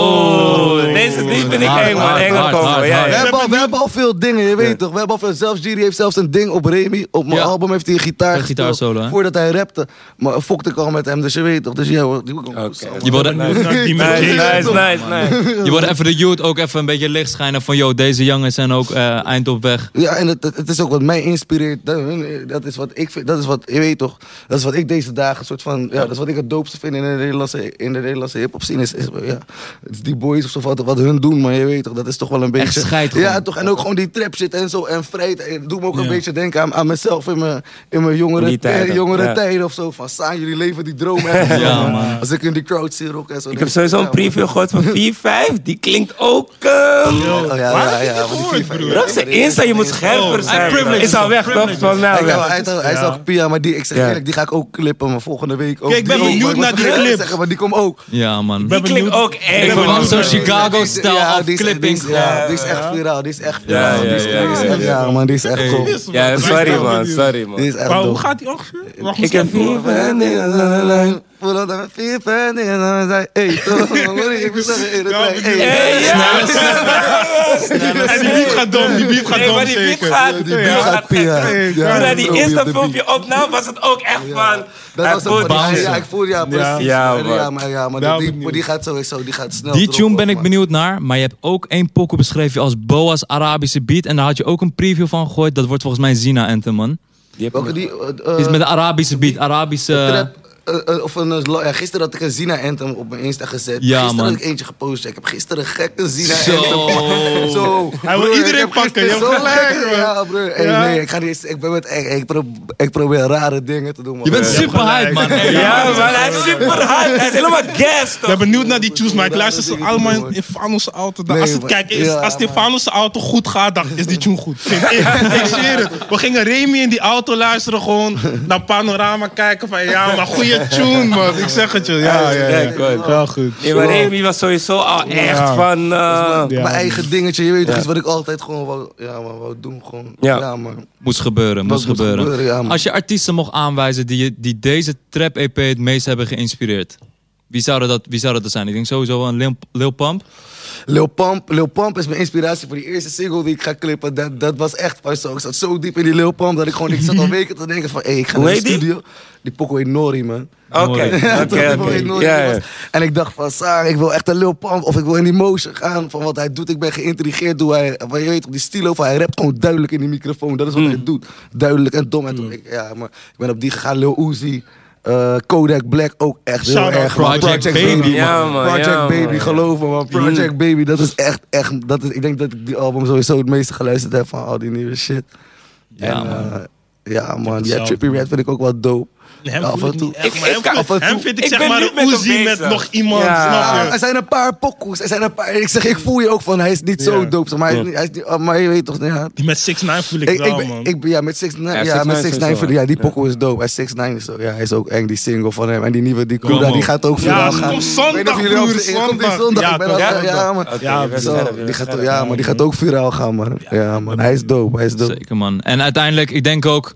S3: Oh, deze die vind ik
S2: Hard,
S3: eng, man.
S2: hard,
S3: Enge
S2: hard,
S3: combo.
S2: hard,
S3: Ja,
S4: We
S2: hard.
S3: ja.
S4: hebben, al, we hebben al veel dingen, je weet toch. We hebben al veel, zelfs Jiri heeft zelfs een ding op Remy. Op mijn
S2: Ja.
S4: album heeft hij een gitaar
S2: Een
S4: gespeeld
S2: gitaarsolo, hè?
S4: Voordat hij rapte. Maar fokte ik al met hem, dus je weet toch. Dus ja, hoor, die moet ik ook
S3: Oké.
S4: samen.
S2: je wilde,
S1: Benieuwd naar die met
S3: Nice,
S1: Jason.
S3: nice, nice, nice.
S2: je wilde even de youth ook even een beetje licht schijnen van... yo, deze jongens zijn ook eh, eind op weg.
S4: Ja, en het, het- het is ook wat mij inspireert. Dat, dat is wat ik vind, dat is wat, je weet toch, dat is wat ik deze dagen, soort van, ja, dat is wat ik het doopste vind in de Nederlandse, in de Nederlandse hip-hop scene. Is, is, ja, het is die boys of zo, wat, wat hun doen, maar je weet toch, dat is toch wel een beetje.
S2: scheid gewoon.
S4: Ja, toch, en ook gewoon die trap shit en zo, en vrijheid. en Het doet me ook een beetje denken aan, aan mezelf in mijn, in mijn jongere,
S3: Die tijden,
S4: eh, jongere
S3: ja.
S4: tijden of zo. Van, staan jullie leven die droom
S3: (laughs)
S4: echt.
S2: Ja, man.
S4: Als ik in die crowd zie rocken en zo.
S3: Ik
S4: denk
S3: heb sowieso
S4: ja,
S3: een
S4: man.
S3: preview gehoord (laughs) van 4-5. Die klinkt ook... ehm,
S1: Yo,
S4: Oh, ja,
S1: waar
S4: ja,
S1: heb je
S4: ja,
S1: dit
S4: want die
S1: gehoord,
S4: FIFA-
S1: broer?
S3: Dat is de Insta, je moet scherper
S1: Oh,
S3: zijn.
S2: privilege.
S3: Is al weg, toch? Van
S4: Hij
S3: nou,
S4: zei wel,
S3: weg.
S4: hij zei- hij zag Pia, maar die, ik zeg
S3: Ja.
S4: eerlijk, die ga ik ook clippen, maar volgende week ook.
S1: Kijk, ik ben
S4: Die ook,
S1: benieuwd
S4: maar
S1: naar die
S4: vergeet
S1: clip.
S4: te zeggen, maar die komt ook.
S2: Ja, man.
S1: ben
S3: Die klinkt
S1: benieuwd.
S3: ook eng.
S1: Ik ben
S2: verwacht
S1: benieuwd.
S2: zo'n Chicago-stijl
S4: Ja, die is-
S2: afklipping.
S4: Die is, ja, die is echt viraal, die is echt
S3: Ja,
S4: viraal. Die is-
S3: ja,
S4: die
S3: ja,
S4: is
S3: ja,
S4: echt- Ja, man, die is echt cool.
S1: Yes, man.
S3: Ja,
S1: Ik ben
S3: sorry
S1: wel
S3: man,
S1: benieuwd.
S3: sorry
S4: Die
S3: man.
S4: is echt
S1: Maar hoe
S4: dope.
S1: gaat die ongeveer? Wacht,
S3: Ik
S1: misschien-
S3: heb vier vrienden.
S4: Hey, toch, wat ik moet zeggen, in de
S1: Ja,
S4: trein, hey.
S1: bedoel-
S3: Hey, ja!
S1: En die beat gaat dom, die beat gaat
S3: Nee,
S1: dom
S3: maar die beat
S1: zeker.
S3: gaat...
S4: Die beat gaat Pia.
S3: Toen
S4: Ja,
S3: hij
S4: die
S3: die
S4: is ook op de beat.
S3: Insta-filmpje opnam, was het ook echt van...
S4: Dat
S3: hij
S4: was
S3: voelt-
S4: een ja,
S2: bounce.
S4: ja, ik voel ja, precies.
S3: Ja,
S4: Ja,
S3: man.
S4: ja, maar, ja, maar
S1: Ja,
S4: die,
S1: benieuwd.
S4: maar die gaat sowieso, die gaat snel.
S2: Die
S4: droppen,
S2: tune ben ik
S4: man.
S2: benieuwd naar, maar je hebt ook één pokoe beschreven als Boa's Arabische beat. En daar had je ook een preview van gegooid. Dat wordt volgens mij Zina Anthem, man.
S4: Welke die? eh, eh,
S2: Is met de Arabische beat, Arabische...
S4: trap. eh, eh, of een, eh, lo- ja, gisteren had ik een Zina Anthem op mijn Insta gezet.
S2: Ja,
S4: gisteren
S2: man.
S4: had ik eentje gepost. Ik heb gisteren gekke Zina
S2: Zo.
S4: Anthem. Zo.
S1: Hij wil
S4: Broer,
S1: iedereen
S4: ik heb
S1: pakken,
S4: gisteren
S1: je hebt
S4: zo
S1: gelijk,
S4: gekke-
S1: man.
S4: Ja, broer. Hey,
S1: Ja.
S4: Nee, ik, ga niet, eens- ik, ben met, ik, ik, pro- ik probeer rare dingen te doen. Man.
S2: Je bent
S4: Ja.
S2: super hype, man. Hey,
S3: Ja, man, hij is super hard. Hij is helemaal gas,
S1: Ik ben
S3: toch?
S1: benieuwd naar die tunes, maar ik luister ze allemaal in, in Fanos' auto. Dan-
S4: Nee,
S1: als het,
S4: maar-
S1: kijk, is,
S4: ja,
S1: als het in
S4: maar-
S1: Fanos' auto goed gaat, dan is die tune goed. Vind Ik,
S4: (laughs)
S1: ik zweer het. We gingen Remy in die auto luisteren, gewoon naar Panorama kijken. Van ja, maar goede tune, man. Ik zeg het je. Ja, ja, ja.
S3: Kijk, hoor.
S1: Wel goed.
S3: Nee, maar Remy was sowieso al echt
S1: Ja.
S3: van... eh,
S1: Ja,
S4: Mijn
S1: man.
S4: eigen dingetje, je weet toch iets wat ik altijd gewoon wou, ja, man, wou doen. Gewoon.
S3: Ja.
S4: Ja. man.
S2: Moest gebeuren, moest
S4: moet
S2: gebeuren.
S4: gebeuren, ja, man.
S2: Als je artiesten mocht aanwijzen die, je- die deze trap-EP het meest hebben geïnspireerd. Wie zouden dat, wie zouden dat zijn? Ik denk sowieso wel een Lil, Lil Pump.
S4: Lil Pump, Lil Pump is mijn inspiratie voor die eerste single die ik ga clippen. Dat, dat was echt van zo. Ik zat zo diep in die Lil Pump dat ik gewoon, ik
S2: (laughs)
S4: zat al weken te denken van, hé, ik ga
S3: Hoe
S4: naar de
S3: heet die?
S4: studio. Die pokoe heet Nori, man.
S3: Oké,
S4: Ja, toch?
S3: oké,
S4: Ik wil in
S3: oké.
S4: Noord-
S3: Ja, ja.
S4: was. En ik dacht van, Saar, ik wil echt een Lil Pump of ik wil in die motion gaan van wat hij doet. Ik ben geïntrigeerd hoe hij, maar je weet op die stilo van hij rapt gewoon duidelijk in die microfoon. Dat is wat
S3: Hmm.
S4: hij doet. Duidelijk en dom. En toen ik, ja, maar ik ben op die gegaan, Lil Uzi. eh, Kodak Black ook echt heel
S1: Shout-out
S4: erg. man.
S2: Project Baby,
S4: man.
S3: Ja, man,
S4: Project
S3: ja, Hmm. man.
S4: Baby, geloof me man. Project Baby, dat is echt, echt. Dat is, ik denk dat ik die album sowieso het meeste geluisterd heb van al die nieuwe shit.
S2: Ja,
S4: en,
S2: man.
S4: eh, ja, man. Ja,
S1: hetzelfde,
S4: Trippy Red vind ik ook wel dope.
S1: Hem
S4: af
S1: voel
S4: en
S1: ik
S4: toe.
S1: niet echt,
S4: Ik-
S1: maar
S4: ik
S1: hem
S4: kan-
S1: voel-
S4: af en
S1: hem
S4: toe-
S1: vind ik,
S3: ik
S1: zeg
S3: ben
S1: maar
S3: niet
S1: een
S3: met hem
S1: Uzi met
S3: bezig.
S1: nog iemand,
S3: Ja.
S1: snap
S4: Ja,
S1: je?
S4: er zijn een paar pokoes. Er zijn een paar. Ik zeg, ik voel je ook van. Hij is niet zo
S3: Ja,
S4: dope. zeg Maar, hij is
S2: klopt.
S4: niet, hij is niet- oh, maar je weet toch. Ja.
S1: Die met 6 9 voel ik,
S4: Ik, ik,
S1: wel,
S4: ben,
S1: man.
S4: ik ben- ja, met 6 9
S3: Ja,
S4: ja,
S3: 6ix9ine
S4: met
S3: is
S4: 6ix9ine
S3: sowieso,
S4: vind ik- ja, die
S3: ja.
S4: pokoe is dope. En 6ix9ine is ook, ja, hij is ook eng, die single van hem. En die nieuwe, die Kuda,
S2: man.
S4: die gaat ook
S1: Ja,
S4: viraal
S1: ze
S4: gaan.
S1: komt zondag,
S4: Ik weet niet of jullie ook-
S1: broer,
S4: ze- komt die
S1: zondag.
S4: zondag.
S1: Ja,
S4: ik ben
S1: toch?
S4: al-
S1: Ja,
S4: ja, man.
S3: Oké,
S1: Ja,
S3: je bent
S4: Zo,
S3: verder, je
S4: die
S3: bent
S4: gaat,
S3: verder.
S4: ja, maar die gaat ook viraal gaan, man. Ja, man. Hij is dope, hij is dope.
S2: Zeker, man. En uiteindelijk, ik denk ook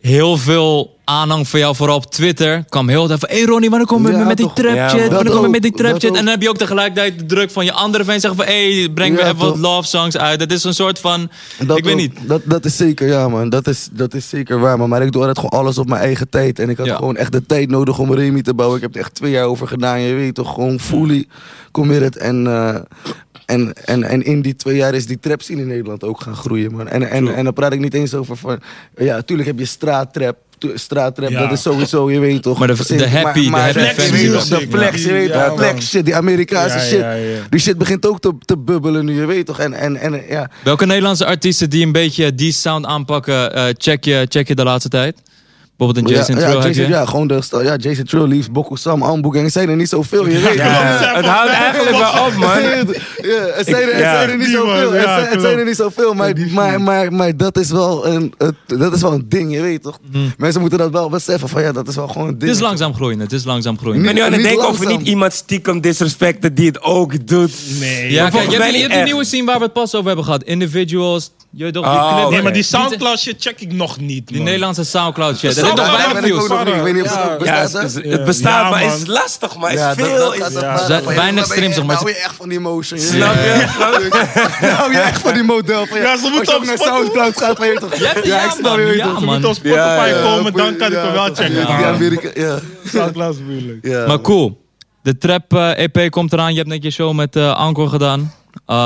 S2: heel veel aanhang van jou, vooral op Twitter. Kwam heel de tijd van, hey Ronnie, wanneer kom je
S4: Ja,
S2: met, met die
S4: toch.
S2: trap
S3: Ja,
S2: shit?
S3: man.
S2: wanneer
S4: Dat
S2: kom je
S4: ook,
S2: met die trap
S4: dat
S2: shit? En
S4: ook.
S2: dan heb je ook tegelijkertijd de druk van je andere fans zeggen van, hey, breng me
S4: Ja,
S2: even wat
S4: toch.
S2: love songs uit. Dat is een soort van,
S4: Dat
S2: ik weet
S4: ook.
S2: niet.
S4: Dat, dat is zeker, ja man. Dat is, dat is zeker waar. Man. Maar ik doe altijd gewoon alles op mijn eigen tijd. En ik had
S2: Ja.
S4: gewoon echt de tijd nodig om Remy te bouwen. Ik heb er echt twee jaar over gedaan. Je weet toch, gewoon fully committed. En, eh, en, en, en in die twee jaar is die trap scene in Nederland ook gaan groeien, man. En, en, en dan praat ik niet eens over van... Ja, tuurlijk heb je straattrap. tu- Straattrap,
S1: Ja.
S4: dat is sowieso, je weet toch.
S2: Maar de- de happy, de happy
S4: de
S1: flex
S4: je weet toch,
S1: music,
S4: de flex, je
S1: man.
S4: weet
S1: Ja,
S4: toch, flex
S1: man.
S4: shit, die Amerikaanse
S1: Ja,
S4: shit.
S1: ja, ja.
S4: Die shit begint ook te, te bubbelen nu, je weet toch. En, en, en ja,
S2: Welke Nederlandse artiesten die een beetje die sound aanpakken, eh, check, je, check je de laatste tijd? Bijvoorbeeld een Jason
S4: ja,
S2: Trill
S4: ja,
S2: heb je?
S4: Jason, ja, gewoon de sta- ja, Jason Trill, Leaves, Bokko Sam, Ambu Gang. Het zijn er niet zoveel, je weet toch?
S1: Ja,
S3: het houdt eigenlijk wel op, man.
S4: (laughs) Ja, het zijn er,
S3: Ik-
S4: het
S3: ja.
S4: zijn er niet
S1: Die
S4: zoveel.
S1: man,
S4: Het
S1: ja,
S4: zijn, het zijn er
S1: klopt.
S4: niet zoveel, maar, maar, maar, maar dat, is wel een, het- dat is wel een ding, je weet toch? Mensen moeten dat wel beseffen van ja, dat is wel gewoon een
S2: Het
S4: ding.
S2: is langzaam groeien, het is langzaam groeien.
S3: Ik ben nu aan het
S4: Niet
S3: denken of we
S4: langzaam.
S3: niet iemand stiekem disrespecten die het ook doet.
S1: Nee.
S2: Ja, kijk,
S3: volgens
S2: je hebt, je
S3: mij
S2: hebt
S3: niet
S2: die
S3: echt.
S2: nieuwe scene waar we het pas over hebben gehad. Individuals, je weet toch, die
S3: Oh,
S2: clip.
S1: Ah, Nee, maar die
S3: Nee.
S1: Soundcloud shit check ik nog niet,
S2: Die
S1: man.
S2: Nederlandse Soundcloud shit. Dat
S1: Soundcloud
S2: heeft
S1: heb
S2: toch weinig
S4: Daar ben ik ook
S2: views.
S4: nog niet. Ik weet niet of het
S3: Ja,
S4: bestaat,
S3: het,
S4: hè?
S3: is- het bestaat,
S1: Ja,
S3: maar het
S1: man.
S3: is lastig, maar het
S4: Ja,
S3: is
S4: dat-
S3: veel.
S4: dat gaat
S3: is-
S4: het
S1: Ja.
S4: maar-
S2: Zijn
S4: van, ja,
S2: weinig
S4: dan ben je
S2: streams,
S4: echt-
S2: maar
S4: Dan
S2: ze-
S4: hou je echt van die motion. je
S3: Snap
S4: weet
S3: je? Snap je?
S4: toch? Dan hou je echt van die model. van,
S1: Ja, ze moeten
S4: als je
S1: op
S4: ook naar
S1: Spotify.
S4: Soundcloud gaat, van je toch?
S2: Ja, ja, man,
S4: je weet
S2: ja,
S4: toch?
S1: Ze
S2: man.
S1: moeten op Spotify
S3: Ja, ja,
S1: komen, dan kan ik
S4: ja,
S1: hem wel
S4: toch,
S1: checken.
S4: Ja, die Amerika, ja.
S1: Soundcloud is moeilijk.
S4: ja.
S2: Maar cool. De Trap eh, EP komt eraan. Je hebt net je show met eh Anko gedaan.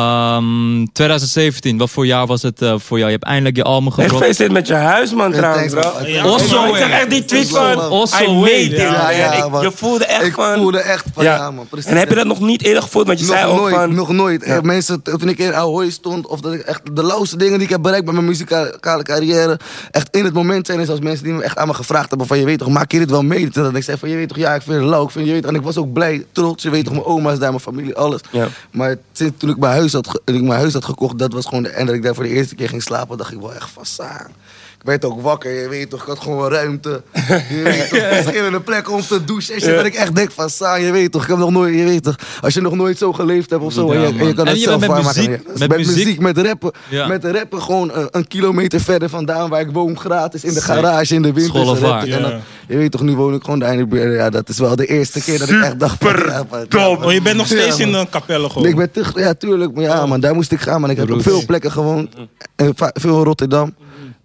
S2: Ehm, 2017, wat voor jaar was het eh, voor jou? Je hebt eindelijk je album
S3: Echt
S2: gedropt.
S3: gefeliciteerd met je huis, man, trouwens,
S4: thanks,
S3: bro.
S4: man.
S1: Ja,
S2: Osso,
S3: Ik zag
S2: hè.
S3: echt die tweet
S4: Osso,
S3: van...
S4: man.
S2: Osso
S3: I made
S2: Wade.
S3: it,
S4: Ja,
S3: man.
S4: ja,
S3: Ik-
S4: man.
S3: Je voelde echt
S4: Ik
S3: van...
S4: voelde echt van, ja, man. Precies.
S3: En heb je dat nog niet eerder gevoeld? Want je zei
S4: nog
S3: ook
S4: nooit,
S3: van...
S4: nog nooit. Eh, Mensen, t- toen ik in Ahoy stond, of dat ik echt de lauwste dingen die ik heb bereikt met mijn muzikale carrière, echt in het moment zijn, is als mensen die me echt aan me gevraagd hebben van, je weet toch, maak je dit wel mee? Dat ik zei van, je weet toch, ja, ik vind het lauw, ik vind, je weet, en ik was ook blij, trots, je weet toch, mijn oma is daar, mijn familie, alles.
S3: Ja.
S4: Maar sinds toen ik mijn huis had, ge- toen ik mijn huis had gekocht, dat was gewoon de en dat ik daar voor de eerste keer ging slapen, dacht ik wel echt van, saan. Ik werd ook wakker, je weet toch, ik had gewoon ruimte. Je weet toch, (laughs) verschillende plekken om te douchen. En shit, dat ik echt denk van, saan, je weet toch, ik heb nog nooit, je weet toch. Als je nog nooit zo geleefd hebt of zo,
S2: Ja,
S4: en je, en je
S2: man.
S4: kan
S2: En
S4: het
S2: je
S4: zelf
S2: bent met
S4: waarmaken.
S2: muziek-
S4: Ja,
S2: met
S4: met
S2: muziek.
S4: muziek, met rappen.
S2: Ja.
S4: Met rappen gewoon eh, een kilometer verder vandaan waar ik woon, gratis in de
S2: Sick.
S4: garage, in de winter.
S2: School of
S4: rap
S2: art.
S4: ik. En dan-
S1: Ja.
S4: Je weet toch, nu woon ik gewoon de einde. Ja, dat is wel de eerste keer dat ik echt dacht van, ja, maar-
S1: Top. Oh, je bent nog
S4: Ja,
S1: steeds
S4: man.
S1: in een kapelle gewoon.
S4: Nee, ik ben terug, ja, tuurlijk. Maar ja, man, daar moest ik gaan, man. Ik heb op
S2: Roots.
S4: veel plekken gewoond. En va- veel in Rotterdam.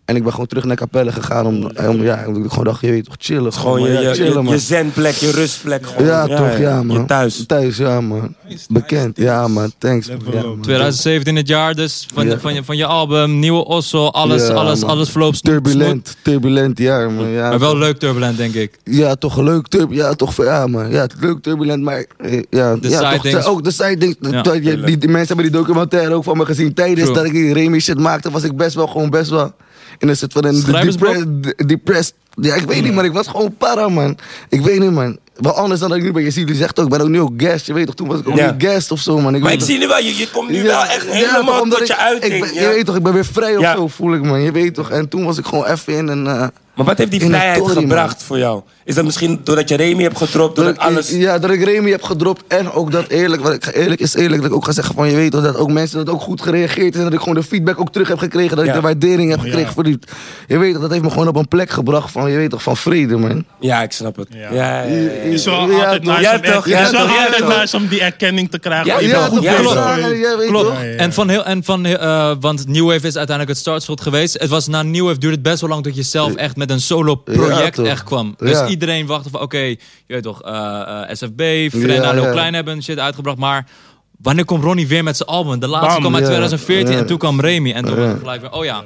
S4: En ik ben gewoon terug naar Capelle gegaan. Om, om, ja, omdat ik gewoon dacht, je weet toch, chillen.
S3: Gewoon je,
S4: man. Ja,
S3: je,
S4: chillen,
S3: je,
S4: man.
S3: je zenplek, je rustplek. gewoon.
S4: ja, toch, ja, man.
S3: Je thuis.
S4: Thuis, ja, man. Bekend, ja, man. Thanks. man.
S1: Level
S4: Ja,
S1: up.
S4: man.
S2: 2017 het jaar dus, van,
S4: Ja.
S2: van, je, van je album, nieuwe Osso, alles,
S4: Ja,
S2: alles,
S4: man.
S2: alles verloopt snoet- snoet.
S4: Turbulent, turbulent jaar, man. Ja,
S2: Maar wel leuk turbulent, denk ik.
S4: Ja, toch leuk turbulent. Ja, toch ja, man. Ja, leuk turbulent, maar eh, ja,
S2: De
S4: ja
S2: side
S4: toch,
S2: things.
S4: ook de side things. Dat-
S2: Ja,
S4: dat je- die, die mensen hebben die documentaire ook van me gezien. Tijdens
S2: True.
S4: dat ik die Remy shit maakte, was ik best wel gewoon best wel in een soort van een
S2: Schrijversblok?
S4: depre- de- depressed. Ja, ik weet niet, maar ik was gewoon para, man. Ik weet niet, man. Wel anders dan dat ik nu ben. Je ziet, die zegt ook, ik ben ook nu ook guest. Je weet toch, toen was ik ook
S3: Ja.
S4: niet guest of zo, man.
S3: Maar
S4: weet
S3: ik
S4: toch-
S3: zie nu wel, je, je komt nu
S4: ja,
S3: wel echt
S4: ja,
S3: helemaal
S4: toch, omdat
S3: tot je
S4: ik-
S3: uiting.
S4: ik ben-
S3: ja.
S4: Je weet toch, ik ben weer vrij of
S3: Ja.
S4: zo, voel ik, man. Je weet toch. En toen was ik gewoon even in een... eh,
S3: Maar wat heeft die
S4: in een
S3: vrijheid
S4: tory, man.
S3: gebracht voor jou? Is dat misschien doordat je Remy hebt getropt, doordat
S4: Dat ik-
S3: alles...
S4: Ja, dat ik Remy heb gedropt. En ook dat eerlijk, wat ik ga- eerlijk is eerlijk, dat ik ook ga zeggen van je weet toch, dat ook mensen dat ook goed gereageerd is. En dat ik gewoon de feedback ook terug heb gekregen. Dat
S3: Ja.
S4: ik de waardering heb
S1: ja.
S4: gekregen voor die. Je weet toch, dat heeft me gewoon op een plek gebracht van je weet toch, van vrede man.
S3: Ja, ik snap het. Ja,
S1: Ja.
S3: ja, ja, ja.
S1: Het is wel
S4: Ja,
S1: altijd
S4: toch.
S1: nice
S3: Ja,
S1: om echt-
S3: toch.
S1: het is
S3: Ja,
S1: wel
S3: toch. Ja,
S1: altijd
S3: toch.
S1: nice om die erkenning te krijgen.
S3: Ja,
S1: van
S3: ja,
S1: iemand.
S3: goed
S4: ja,
S3: klopt.
S4: ja, ja, weet
S2: Klopt.
S4: toch.
S1: ja, ja.
S2: En van heel, en van, eh, want New Wave is uiteindelijk het startschot geweest. Het was na New Wave duurde het best wel lang tot je zelf echt met een solo project
S4: Ja, toch.
S2: echt kwam. Dus
S4: Ja.
S2: iedereen wachtte van, oké, je weet toch, eh, eh, SFB, Frenna,
S4: Ja,
S2: Leo
S4: ja.
S2: Klein hebben shit uitgebracht, maar wanneer komt Ronnie weer met zijn album? De laatste
S1: Bam.
S2: kwam uit
S4: Ja.
S2: 2014
S4: Ja.
S2: en toen kwam Remy en toen
S4: Ja.
S2: was het gelijk weer, oh ja.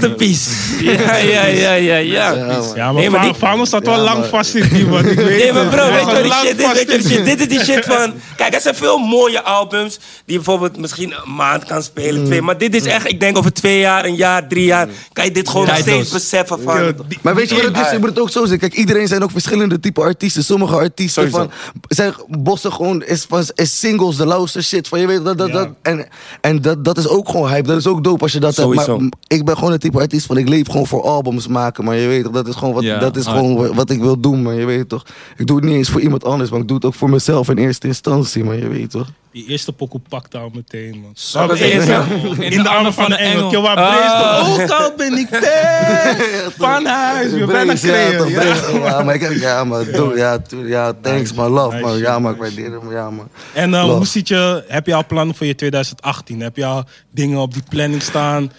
S3: Masterpiece. (laughs) Ja, ja, ja, ja, ja.
S1: Ja, maar,
S3: Nee, maar
S1: Fa-
S3: die-
S1: Fano staat wel
S4: Ja,
S1: lang
S4: maar-
S1: vast in die, man. Ik weet
S3: Nee,
S1: het.
S3: maar bro,
S1: Hij
S3: weet je
S1: staat
S3: wat die
S1: lang
S3: shit is?
S1: vast
S3: Weet je wat
S1: in
S3: die
S1: die-
S3: shit- Dit is die shit
S4: (laughs)
S3: van... Kijk, er zijn veel mooie albums die je bijvoorbeeld misschien een maand kan spelen, twee. Maar dit is
S4: Mm.
S3: echt, ik denk over twee jaar, een jaar, drie jaar, kan je dit gewoon nog
S2: Tijdloos.
S3: steeds beseffen van...
S1: Die-
S4: Maar weet je wat het is?
S3: Ja.
S4: Je moet het ook zo zien. Kijk, iedereen zijn ook verschillende type artiesten. Sommige artiesten van, zijn bossen gewoon is, van, is singles, de lauwste shit. Van, je weet, dat, dat,
S1: Ja.
S4: dat, en en dat, dat is ook gewoon hype. Dat is ook dope als je dat hebt. Maar
S3: Sowieso.
S4: m, ik ben gewoon het type artiest van ik leef gewoon voor albums maken. Maar je weet toch, dat is gewoon wat,
S2: Ja,
S4: dat is
S2: hard.
S4: gewoon wa- wat ik wil doen. Maar je weet toch, ik doe het niet eens voor iemand anders. Maar ik doe het ook voor mezelf in eerste instantie. Maar je weet toch.
S1: Die eerste pokoe pakte al meteen, man.
S2: Zo, dat is het.
S1: In, de armen van de engel. Yo, waar Brees toch? Ook al ben
S4: (laughs)
S1: ik ver van huis. Je bent een
S4: Brees, ja,
S1: kreeg.
S4: toch,
S1: ja.
S4: Brees. Ja, maar ik- ja, maar doe, ja, tuurlijk, ja, thanks, my love.
S1: Nice
S4: man.
S1: shit,
S4: Ja, maar ik waardeer hem, ja, man.
S1: En eh,
S4: Love.
S1: hoe ziet je, heb je al plannen voor je 2018? Heb je al dingen op die planning staan?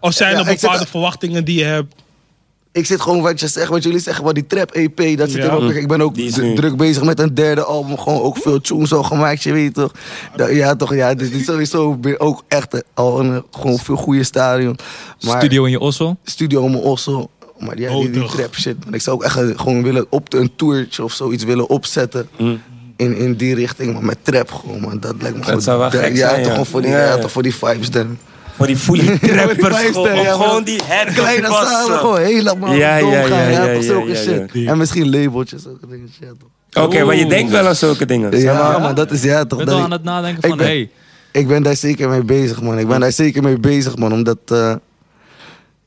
S1: Of zijn
S4: Ja,
S1: er
S4: ik zit-
S1: bepaalde verwachtingen die je hebt?
S4: Ik zit gewoon wat je zegt, wat jullie zeggen, wat die trap EP, dat zit
S1: Ja.
S4: er ook. Ik ben ook
S3: Die is
S4: dru-
S3: nu.
S4: druk bezig met een derde album, gewoon ook veel tunes al gemaakt, je weet toch? Dat- ja, toch, ja, dus die is sowieso weer ook echt al in een gewoon veel goede stadion. Maar
S2: Studio in je ossel.
S4: studio om Ossel, maar ja, die, die
S1: Nodig.
S4: trap shit. man. ik zou ook echt eh, gewoon willen op een toertje of zoiets willen opzetten.
S3: Hm.
S4: In, in die richting, maar met trap gewoon, man. Dat lijkt me gewoon...
S3: zou wel
S4: de-
S3: gek
S4: ja,
S3: zijn,
S4: Toch
S3: ja.
S4: gewoon voor die,
S3: Ja,
S4: ja,
S3: ja.
S4: toch voor die vibes dan.
S3: Voor die
S4: (laughs)
S3: fully trappers
S4: vijfster,
S3: gewoon.
S4: ja, maar-
S3: Gewoon die (laughs)
S4: Kleine samen,
S3: herkenbassen.
S4: gewoon helemaal
S3: eh, Ja, ja,
S4: doorgaan. Ja,
S3: ja, ja,
S4: toch
S3: ja,
S4: zulke
S3: ja,
S4: shit. En misschien labeltjes, zulke dingen. shit, toch.
S3: Oké, maar je denkt wel aan zulke dingen.
S4: Ja,
S3: zeg maar.
S4: man, dat is ja toch.
S2: Ik ben
S4: dat
S2: wel
S4: ik-
S2: aan het nadenken
S4: Ik
S2: van,
S4: ben-
S2: hey,
S4: Ik ben daar zeker mee bezig, man. Ik ben daar zeker mee bezig, man. Omdat. eh,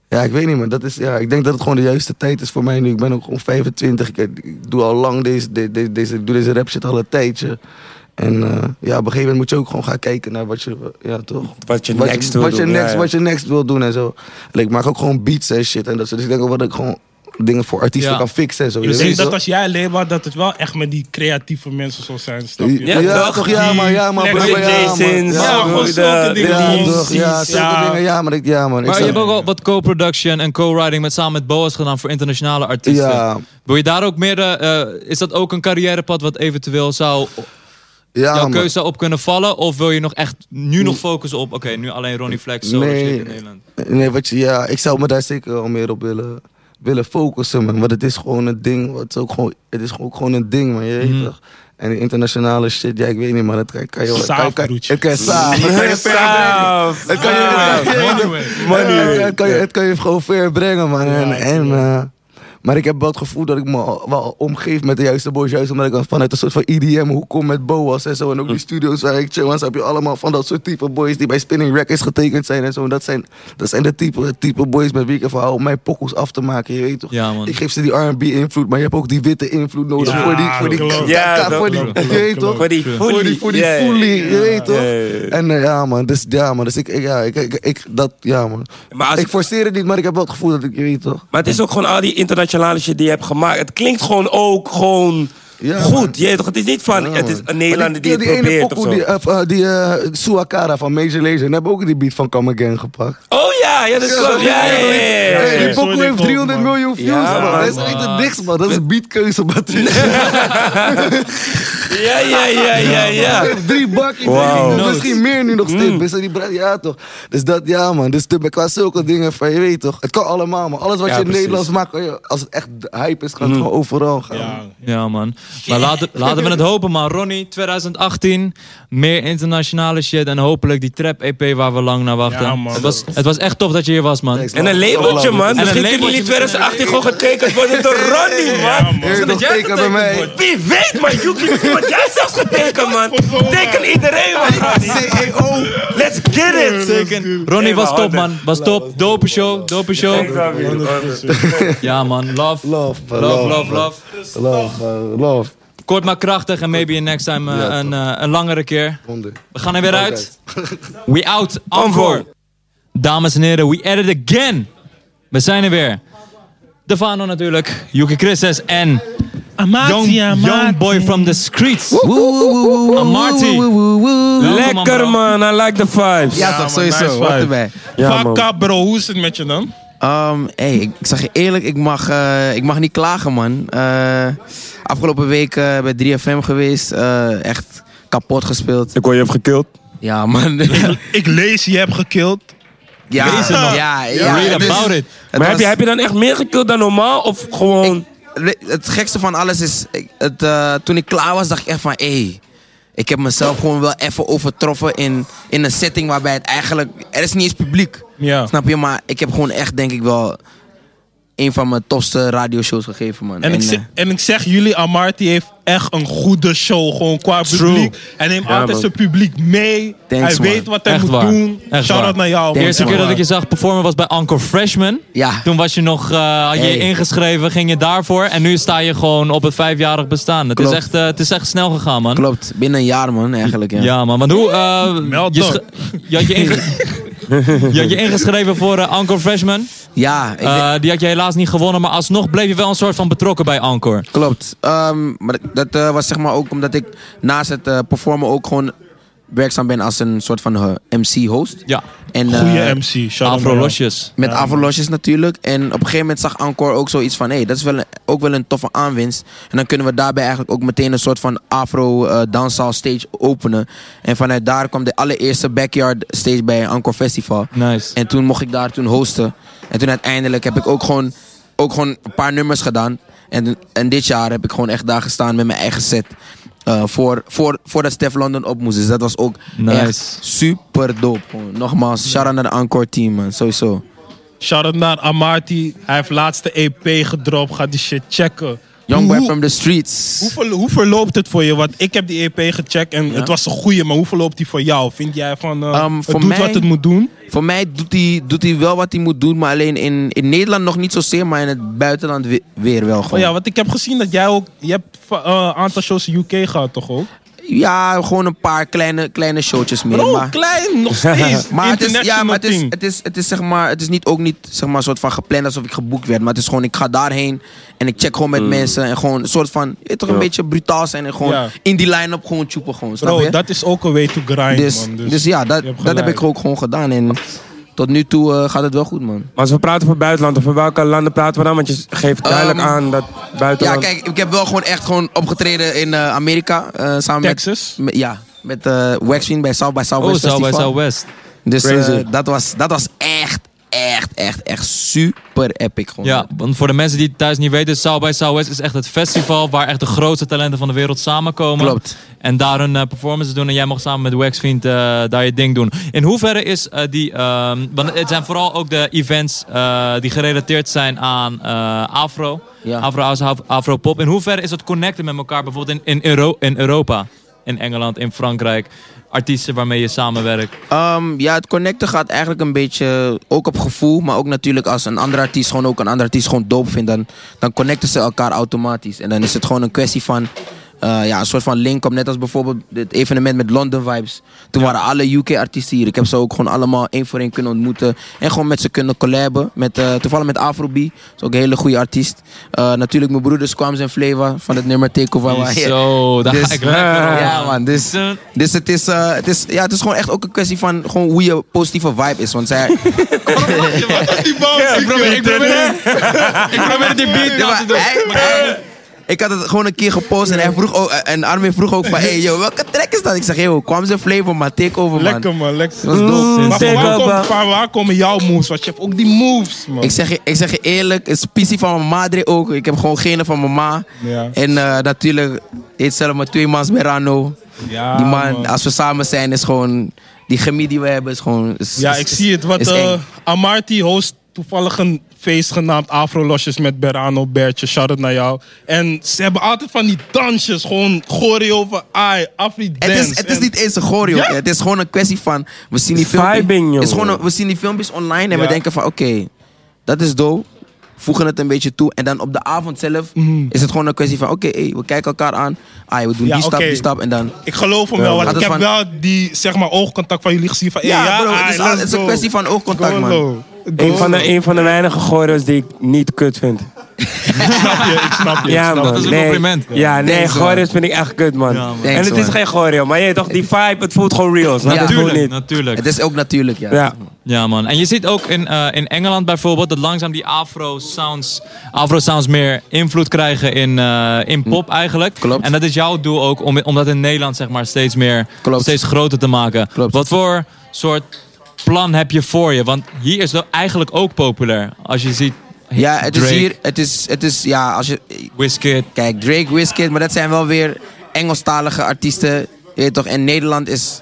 S4: ja, ik weet niet, man. Dat is, ja, ik denk dat het gewoon de juiste tijd is voor mij nu. Ik ben ook gewoon 25. Ik, ik doe al lang deze, de- de- deze, ik doe deze rap shit al een tijdje. En eh, ja, op een gegeven moment moet je ook gewoon gaan kijken naar wat je. Ja, toch?
S3: Wat je
S4: wat
S3: next
S4: je,
S3: wil
S4: wat je
S3: doen, ja,
S4: next,
S3: ja.
S4: wat je next wil doen en zo. En ik maak ook gewoon beats en shit en dat soort. Dus ik denk ook dat ik gewoon dingen voor artiesten
S2: Ja.
S4: kan fixen en zo. je
S1: Ik
S4: weet
S1: denk
S4: toch?
S1: dat als jij label, dat het wel echt met die creatieve mensen zal zijn. Snap je?
S3: Ja,
S4: Ja, ja,
S3: toch?
S4: toch? Ja,
S1: Die
S4: maar ja, maar
S1: flex-
S4: bro, ja,
S3: Jasons,
S4: maar-
S1: Ja,
S4: ja,
S3: maar
S1: gewoon
S4: bro,
S3: de-
S1: zulke dingen.
S4: ja,
S1: die-
S4: toch? Ja,
S1: Precies,
S4: zulke dingen. Ja, maar ik, ja, man. Ik
S2: Maar je
S4: zou-
S2: hebt ook al wat co-production en co-writing met samen met Boas gedaan voor internationale artiesten.
S4: Ja.
S2: Wil je daar ook meer, eh, eh, is dat ook een carrièrepad wat eventueel zou,
S4: ja,
S2: jouw
S4: man.
S2: keuze zou op kunnen vallen? Of wil je nog echt nu nog focussen op, oké, nu alleen Ronnie Flex, solo
S4: Nee.
S2: shit in Nederland?
S4: Nee, wat je, ja, ik zou me daar zeker wel meer op willen, willen focussen, man. Want het is gewoon een ding. wat is ook gewoon, het is ook gewoon een ding, man. Je weet
S2: Mhm.
S4: toch? En die internationale shit, ja, ik weet niet, maar dat kan, kan je wel...
S1: Saaf,
S4: kan- kan-
S1: broertje.
S4: Het kan saaf. Het kan je ver brengen.
S3: Saaf.
S4: Het kan je-
S3: Saaf.
S4: het kan je- Ah. Ja, Het kan, je- het kan je gewoon ver brengen, man. En, en, eh, maar ik heb wel het gevoel dat ik me al- wel omgeef met de juiste boys. Juist omdat ik dan vanuit een soort van E EDM hoe kom met boas en zo. En ook die studios waar ik chill was, heb je allemaal van dat soort type boys die bij Spinning Records getekend zijn en zo. En dat zijn, dat zijn de type, type boys met wie ik ervan hou om mijn pokkels af te maken. Je weet toch?
S2: Ja, man.
S4: Ik geef ze die R&B invloed, maar je hebt ook die witte invloed nodig
S1: Ja,
S4: voor die... Voor die,
S1: klopt.
S3: Ja,
S4: ja,
S3: dat
S4: voor die
S1: klopt,
S4: je
S1: klopt,
S4: weet
S1: klopt.
S4: toch?
S3: Voor die
S4: Voor die, voor die
S3: Ja, ja, ja.
S4: fully, je weet toch?
S3: Ja, ja, ja.
S4: En eh, ja, man, dus, ja, man, dus ik, ik- ja, ik, ik, ik- dat, ja, man.
S3: Maar als
S4: ik
S3: ik-
S4: forceer het niet, maar ik heb wel het gevoel dat ik, je weet toch?
S3: Maar het is ook gewoon al die internationale shit die je hebt gemaakt. Het klinkt gewoon ook gewoon
S4: Ja, man.
S3: goed. Je weet toch, het is niet van,
S4: Ja,
S3: het is
S4: man.
S3: een
S4: Maar
S3: Nederlander die,
S4: die
S3: het
S4: ene
S3: probeert of
S4: pokoe,
S3: zo.
S4: die, eh, eh, die eh, Suakara van Major Lazer, hebben ook die beat van Come Again gepakt.
S3: Oh ja, ja, dat is klopt. Ja, ja, ja, ja, ja,
S4: Hey,
S3: ja.
S4: die pokoe
S1: Sorry,
S4: heeft
S1: Tom,
S4: 300
S1: man.
S4: miljoen views,
S3: Ja,
S4: man. Dat is
S2: man.
S4: echt het niks, man. Dat is een beatkeuze, man.
S1: (laughs)
S3: Ja, ja, ja, ja, ja.
S4: Drie bakjes.
S3: Wauw. Mm.
S4: Misschien- Misschien meer nu nog steeds. Best wel die bruid- ja toch. Dus dat, ja man. Dus de- qua zulke dingen van, je weet toch. Het kan allemaal man. Alles wat
S3: Ja,
S4: je in
S3: precies. Mm.
S4: Nederlands maakt, kan je- als het echt hype is, kan het gewoon overal gaan.
S1: Ja.
S2: Ja, man. Maar laten, laten we het hopen, man. Ronnie, 2018. Meer internationale shit. En hopelijk die trap-EP waar we lang naar wachten.
S1: Ja, man.
S2: Het, was, het was echt tof dat je hier was, man.
S4: Thanks,
S3: En een labeltje, man. Misschien
S2: labeltje
S3: kunnen jullie
S2: met
S3: 2018 gewoon getekend worden door Ronnie, man.
S4: Hey, nog teken bij mij.
S3: Wie weet, man. Yuki, misschien word jij zelfs getekend, man. Teken iedereen, man. E
S4: CEO.
S3: Let's get it.
S2: Ronnie was
S3: Hey,
S2: top,
S3: man.
S2: man. Was top. Dope show. Dope show. Ja, man. Love.
S4: Love, man.
S2: Love,
S4: Love,
S2: love,
S4: man.
S2: love.
S4: Love, man. Love.
S2: Kort maar krachtig. En maybe next time eh,
S4: Ja, toch.
S2: een, eh, een langere keer.
S4: Onder.
S3: Nou,
S2: We gaan er weer uit. We out.
S3: Amvoor.
S2: Amvoor. Dames en heren, we at it again. We zijn er weer. De Fano natuurlijk. Yuki Christus en... Young, young boy from the streets. Amarty.
S3: Lekker, man. I like the vibes.
S5: Ja, toch,
S1: man,
S5: sowieso.
S1: nice
S5: Wat
S1: vibe.
S5: erbij.
S3: Ja,
S1: Fuck
S3: man.
S1: up, bro. Hoe is het met je (clears throat) dan?
S5: Ehm, hey, ik, ik zeg je eerlijk, ik mag, eh, ik mag niet klagen, man. Eh, afgelopen week eh, bij 3FM geweest. eh, echt kapot gespeeld.
S3: Ik hoor je hebt gekild.
S5: Ja, man.
S1: Ik lees, je hebt gekild.
S5: Ja,
S2: Lees het nog.
S5: ja, ja.
S2: Read
S5: dus-
S2: about it.
S5: het
S3: maar heb, je,
S5: was-
S3: heb je dan echt meer gekild dan normaal? Of gewoon...
S5: We- Het gekste van alles is, ik- het, eh, toen ik klaar was, dacht ik echt van, hé, ik heb mezelf gewoon wel even overtroffen in, in een setting waarbij het eigenlijk, er is niet eens publiek.
S1: Ja.
S5: Snap je? Maar ik heb gewoon echt, denk ik wel, een van mijn tofste radioshows gegeven, man.
S1: En, ik
S5: eh,
S1: zeg, en ik zeg jullie, Amarty heeft echt een goede show. Gewoon qua publiek. Hij neemt altijd
S3: man.
S1: zijn publiek mee.
S5: Thanks,
S1: hij
S5: man.
S1: weet wat hij
S2: Echt
S1: moet
S2: waar.
S1: doen.
S2: Echt
S1: Shout
S2: waar.
S1: out naar jou.
S2: De
S1: man.
S2: eerste
S1: Echt
S2: keer dat ik
S1: waar.
S2: je zag performen was bij Anchor Freshman.
S5: Ja.
S2: Toen was je nog, eh, had je je
S5: Hey.
S2: ingeschreven, ging je daarvoor. En nu sta je gewoon op het vijfjarig bestaan. Het, is
S5: Klopt.
S2: echt, eh, het is echt snel gegaan, man.
S5: Klopt, binnen een jaar, man, eigenlijk, ja.
S2: Ja, man. Want hoe... eh,
S1: Meld
S2: je,
S1: op.
S2: sch- je, had je, inge-
S5: (laughs)
S2: je had je ingeschreven voor eh, Anchor Freshman.
S5: Ja, ik denk-
S2: Eh, die had je helaas niet gewonnen. Maar alsnog bleef je wel een soort van betrokken bij Anchor.
S5: Klopt. Ehm, maar dat eh, was zeg maar ook omdat ik naast het eh, performen ook gewoon werkzaam ben als een soort van eh, MC-host.
S2: Ja.
S5: En,
S1: Goeie
S5: eh,
S1: MC. Shout out
S2: Afro
S1: naar jou.
S2: Losjes.
S5: Met avalosjes natuurlijk. En op een gegeven moment zag Ancor ook zoiets van... hé, hey, dat is wel een- ook wel een toffe aanwinst. En dan kunnen we daarbij eigenlijk ook meteen een soort van afro eh danszaal stage openen. En vanuit daar kwam de allereerste backyard stage bij Ancor Festival.
S2: Nice.
S5: En toen mocht ik daar toen hosten. En toen uiteindelijk heb ik ook gewoon, ook gewoon een paar nummers gedaan. En, en dit jaar heb ik gewoon echt daar gestaan met mijn eigen set. eh, voor, voor, voordat Stef London op moest. Dus dat was ook
S2: Nice.
S5: echt super dope. gewoon. Nogmaals, shout-out naar de Ancor team, man. Sowieso.
S1: Shout out naar Amarty. Hij heeft laatste EP gedropt. Ga die shit checken.
S5: Young
S1: Hoe-
S5: boy from the streets.
S1: Hoe, verlo- hoe verloopt het voor je? Want ik heb die EP gecheckt en het was een goeie, maar hoe verloopt die voor jou? Vind jij van eh,
S5: Ehm,
S1: het
S5: voor
S1: doet
S5: mij-
S1: wat het moet doen?
S5: Voor mij doet hij, doet hij wel wat hij moet doen, maar alleen in, in Nederland nog niet zozeer, maar in het buitenland we- weer wel
S1: Oh
S5: gewoon.
S1: ja,
S5: ja,
S1: want ik heb gezien dat jij ook. Je hebt va- eh, een aantal shows in UK gehad, toch ook?
S5: gewoon een paar kleine, kleine showtjes meer.
S1: Bro,
S5: maar (laughs)
S1: klein, nog steeds.
S5: maar, het, is, ja,
S1: Oh, International
S5: maar het, is,
S1: thing.
S5: het, is, het is zeg maar, het is niet ook niet zeg maar, soort van gepland alsof ik geboekt werd, maar het is gewoon, ik ga daarheen en ik check gewoon met mensen en gewoon een soort van, je weet toch een beetje brutaal zijn en gewoon
S1: Ja.
S5: in die line-up gewoon choepen gewoon, snap
S1: Bro,
S5: je?
S1: dat is ook een way to grind,
S5: dus,
S1: man.
S5: dus, ja, dat,
S1: je hebt
S5: dat heb
S1: gelijk.
S5: ik ook gewoon gedaan en tot nu toe eh, gaat het wel goed, man.
S3: Maar als we praten over buitenland, over welke landen praten we dan? Want je geeft duidelijk
S5: Ehm,
S3: aan dat
S5: Ja,
S3: buitenland...
S5: kijk, ik heb wel gewoon echt gewoon opgetreden in eh, Amerika. eh, samen (laughs)
S1: Texas?
S5: Met, met- ja, met eh Waxwing bij South by
S2: Oh,
S5: Southwest
S2: South by
S5: Festival.
S2: Southwest.
S5: Dus eh,
S3: Crazy.
S5: dat, was, dat was echt, echt, echt, echt super epic gewoon.
S2: Ja, want voor de mensen die het thuis niet weten, South by Southwest is echt het festival waar echt de grootste talenten van de wereld samenkomen.
S5: Klopt.
S2: En daar hun eh, performances doen en jij mag samen met Waxfiend eh, daar je ding doen. In hoeverre is eh, die, ehm, want het zijn vooral ook de events eh, die gerelateerd zijn aan eh, afro,
S5: Ja.
S2: afro house, af- afro pop. In hoeverre is het connecten met elkaar bijvoorbeeld in, in, Euro- in Europa, in Engeland, in Frankrijk, artiesten waarmee je samenwerkt?
S5: Ehm, ja, het connecten gaat eigenlijk een beetje ook op gevoel. Maar ook natuurlijk als een andere artiest gewoon ook een andere artiest gewoon dope vindt. Dan, dan connecten ze elkaar automatisch. En dan is het gewoon een kwestie van eh, ja, een soort van link op. Net als bijvoorbeeld het evenement met London Vibes. Toen waren alle UK-artiesten hier. Ik heb ze ook gewoon allemaal één voor één kunnen ontmoeten. En gewoon met ze kunnen collaben. Met, eh, toevallig met Afrobi. Dat is ook een hele goede artiest. Eh, natuurlijk mijn broeders Kwams en Fleva van het nummer Takeover. waar je-
S2: Zo, daar
S5: Dus-
S2: ga ik lekker op.
S5: ja, man. Dus, dus het, is, eh, het, is, ja, het is gewoon echt ook een kwestie van gewoon hoe je positieve vibe is.
S1: (laughs)
S5: Want zij.
S2: Ik probeer, ik probeer,
S1: (laughs)
S2: ik probeer die beat
S5: Ja,
S2: na
S5: maar
S2: te doen.
S5: hij- hij- ik had het gewoon een keer gepost en, hij vroeg ook, eh, en Armin vroeg ook van: hey, yo, welke track is dat? Ik zeg: yo, kwam zijn flavor, maar take over, man.
S1: Lekker, man. Lekker.
S5: Dat was dope.
S1: Maar van
S3: Take
S1: waar,
S3: over.
S1: komen, van waar komen jouw moves? Want je hebt ook die moves, man.
S5: Ik zeg, je- ik zeg je eerlijk, het is pissie van mijn madre ook. Ik heb gewoon genen van mijn ma.
S1: Ja.
S5: En eh, natuurlijk, eet zelf mijn twee maas Berano.
S1: Ja,
S5: die man,
S1: man.
S5: als we samen zijn, is gewoon. Die chemie die we hebben is gewoon. is-
S1: Ja,
S5: is-
S1: ik
S5: is-
S1: zie het. Wat
S5: is
S1: eh,
S5: eng.
S1: Amarty host toevallig een feest genaamd Afrolosjes met Berano, Bertje, shout out naar jou. En ze hebben altijd van die dansjes, gewoon choreo van ai, Afri dance.
S5: Het is, het is
S1: En-
S5: niet eens een choreo.
S1: Ja.
S5: Het is gewoon een kwestie van. We zien die
S3: Het is vibing,
S5: filmpjes.
S3: jongen.
S5: Is gewoon een- we zien die filmpjes online en
S1: Ja.
S5: we denken van oké, dat is dope. Voegen het een beetje toe. En dan op de avond zelf is het gewoon een kwestie van oké, hey, we kijken elkaar aan. Ah, we doen
S1: Mhm. Ja,
S5: die stap,
S1: oké.
S5: die stap en dan.
S1: Ik geloof hem wel, want
S5: Gaat
S1: ik
S5: het
S1: heb
S5: van-
S1: wel die zeg maar, oogcontact van jullie gezien. Van, hey,
S5: Ja,
S1: ja,
S5: bro,
S1: ai,
S5: het is, al-
S1: let's
S5: het is een
S1: go.
S5: kwestie van oogcontact, man.
S1: Golo.
S3: Een van, de, een van de weinige gooiers die ik niet kut vind.
S1: Ik snap je, ik snap je.
S3: Ja,
S1: ik snap
S3: man.
S1: je.
S2: Dat is een
S3: nee.
S2: compliment.
S3: Ja, nee,
S5: Thanks, man.
S3: gooiers vind ik echt kut, man.
S2: Ja, man.
S5: Thanks,
S3: en het is
S5: man.
S3: geen gooier, maar je weet toch, die vibe, het voelt gewoon real. Snap je?
S5: Ja.
S3: het voelt
S2: Natuurlijk,
S3: niet.
S2: natuurlijk.
S5: Het is ook natuurlijk, ja.
S3: Ja.
S2: Ja, man. En je ziet ook in, eh, in Engeland bijvoorbeeld dat langzaam die afro-sounds afro -sounds meer invloed krijgen in, eh, in pop eigenlijk.
S5: Mm. Klopt.
S2: En dat is jouw doel ook, om, om dat in Nederland zeg maar steeds meer,
S5: Klopt.
S2: steeds groter te maken.
S5: Klopt.
S2: Wat voor soort plan heb je voor je? Want hier is het eigenlijk ook populair. Als je ziet
S5: Ja, het is
S2: Drake,
S5: hier, het is, het is, ja, als je,
S2: Wizkid.
S5: Kijk, Drake, Wizkid, maar dat zijn wel weer Engelstalige artiesten. Je weet toch, en Nederland is...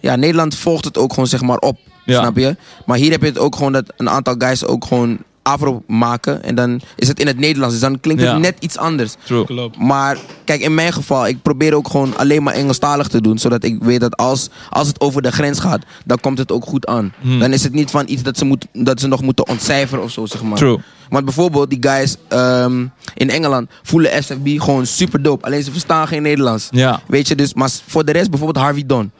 S5: Ja, Nederland volgt het ook gewoon zeg maar op.
S2: Ja.
S5: Snap je? Maar hier heb je het ook gewoon dat een aantal guys ook gewoon afro maken. En dan is het in het Nederlands. Dus dan klinkt het
S2: Ja.
S5: net iets anders.
S2: True.
S1: Klopt.
S5: Maar kijk, in mijn geval, ik probeer ook gewoon alleen maar Engelstalig te doen. Zodat ik weet dat als, als het over de grens gaat, dan komt het ook goed aan.
S2: Hmm.
S5: Dan is het niet van iets dat ze, moet, dat ze nog moeten ontcijferen of zo, zeg maar.
S2: True.
S5: Want bijvoorbeeld, die guys ehm, in Engeland voelen SFB gewoon super dope. Alleen ze verstaan geen Nederlands.
S2: Ja.
S5: Weet je, dus, maar s- voor de rest bijvoorbeeld Harvey Don.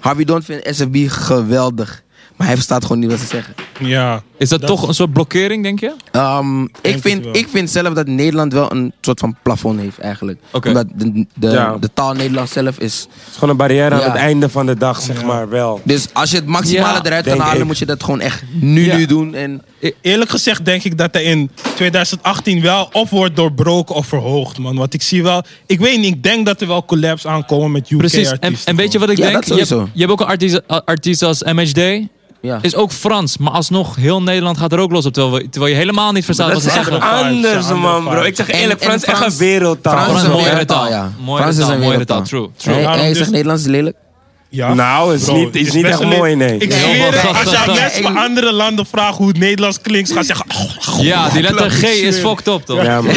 S5: Harvey Don vindt SFB geweldig. Maar hij verstaat gewoon niet wat ze zeggen.
S1: Ja.
S2: Is dat, toch een soort blokkering, denk je?
S5: Ehm, ik,
S1: het
S5: vind,
S1: wel.
S5: ik vind zelf dat Nederland wel een soort van plafond heeft eigenlijk.
S2: Oké.
S5: Omdat de, de,
S3: Ja.
S5: de taal Nederlands zelf is.
S3: is gewoon een barrière
S5: Ja.
S3: aan het einde van de dag, zeg maar wel.
S5: Dus als je het maximale
S2: Ja,
S5: eruit kan
S3: denk
S5: halen,
S3: ik.
S5: moet je dat gewoon echt nu,
S2: Ja.
S5: nu doen. En
S1: Eerlijk gezegd denk ik dat hij in 2018 wel of wordt doorbroken of verhoogd, man. Want ik zie wel... Ik weet niet, ik denk dat er wel collabs aankomen met
S2: Precies. En,
S1: UK-artiesten.
S2: en weet je wat ik
S5: Ja,
S2: denk?
S5: dat
S2: Je hebt,
S5: sowieso.
S2: je hebt ook een artiest, a- artiest als MHD.
S5: ja.
S2: Is ook Frans. Maar alsnog, heel Nederland gaat er ook los op. Terwijl, we- terwijl je helemaal niet verstaat wat
S3: Dat
S2: ze
S3: is echt
S2: zeggen.
S1: andere vibes,
S3: anders,
S1: ja, andere
S3: man, bro.
S1: vibes.
S3: Ik zeg
S5: En-
S3: eerlijk,
S5: en
S3: Frans is echt
S5: Frans-
S3: een wereldtaal.
S5: Frans
S2: Frans
S5: is
S2: is een
S5: een
S2: mooiere
S5: wereldtaal,
S2: taal.
S5: ja.
S2: Mooiere
S5: Frans is
S2: taal,
S5: een
S2: mooiere
S5: wereldtaal.
S2: taal. True, true.
S5: Hij,
S1: Daarom
S5: hij
S1: dus-
S5: zegt Nederlands is lelijk.
S1: Ja.
S3: Nou, is niet- is
S1: het
S3: niet
S1: best
S3: echt
S1: wel
S3: mooi,
S1: een-
S3: nee.
S1: Ik
S3: Ja.
S1: zweer het,
S2: Heel
S1: als je
S2: veel
S1: aan
S3: (laughs)
S2: gas,
S1: mensen van andere landen vraagt hoe het Nederlands klinkt, gaan ze zeggen... (laughs)
S2: Ja, die letter G is fucked up, toch?
S3: Ja, man.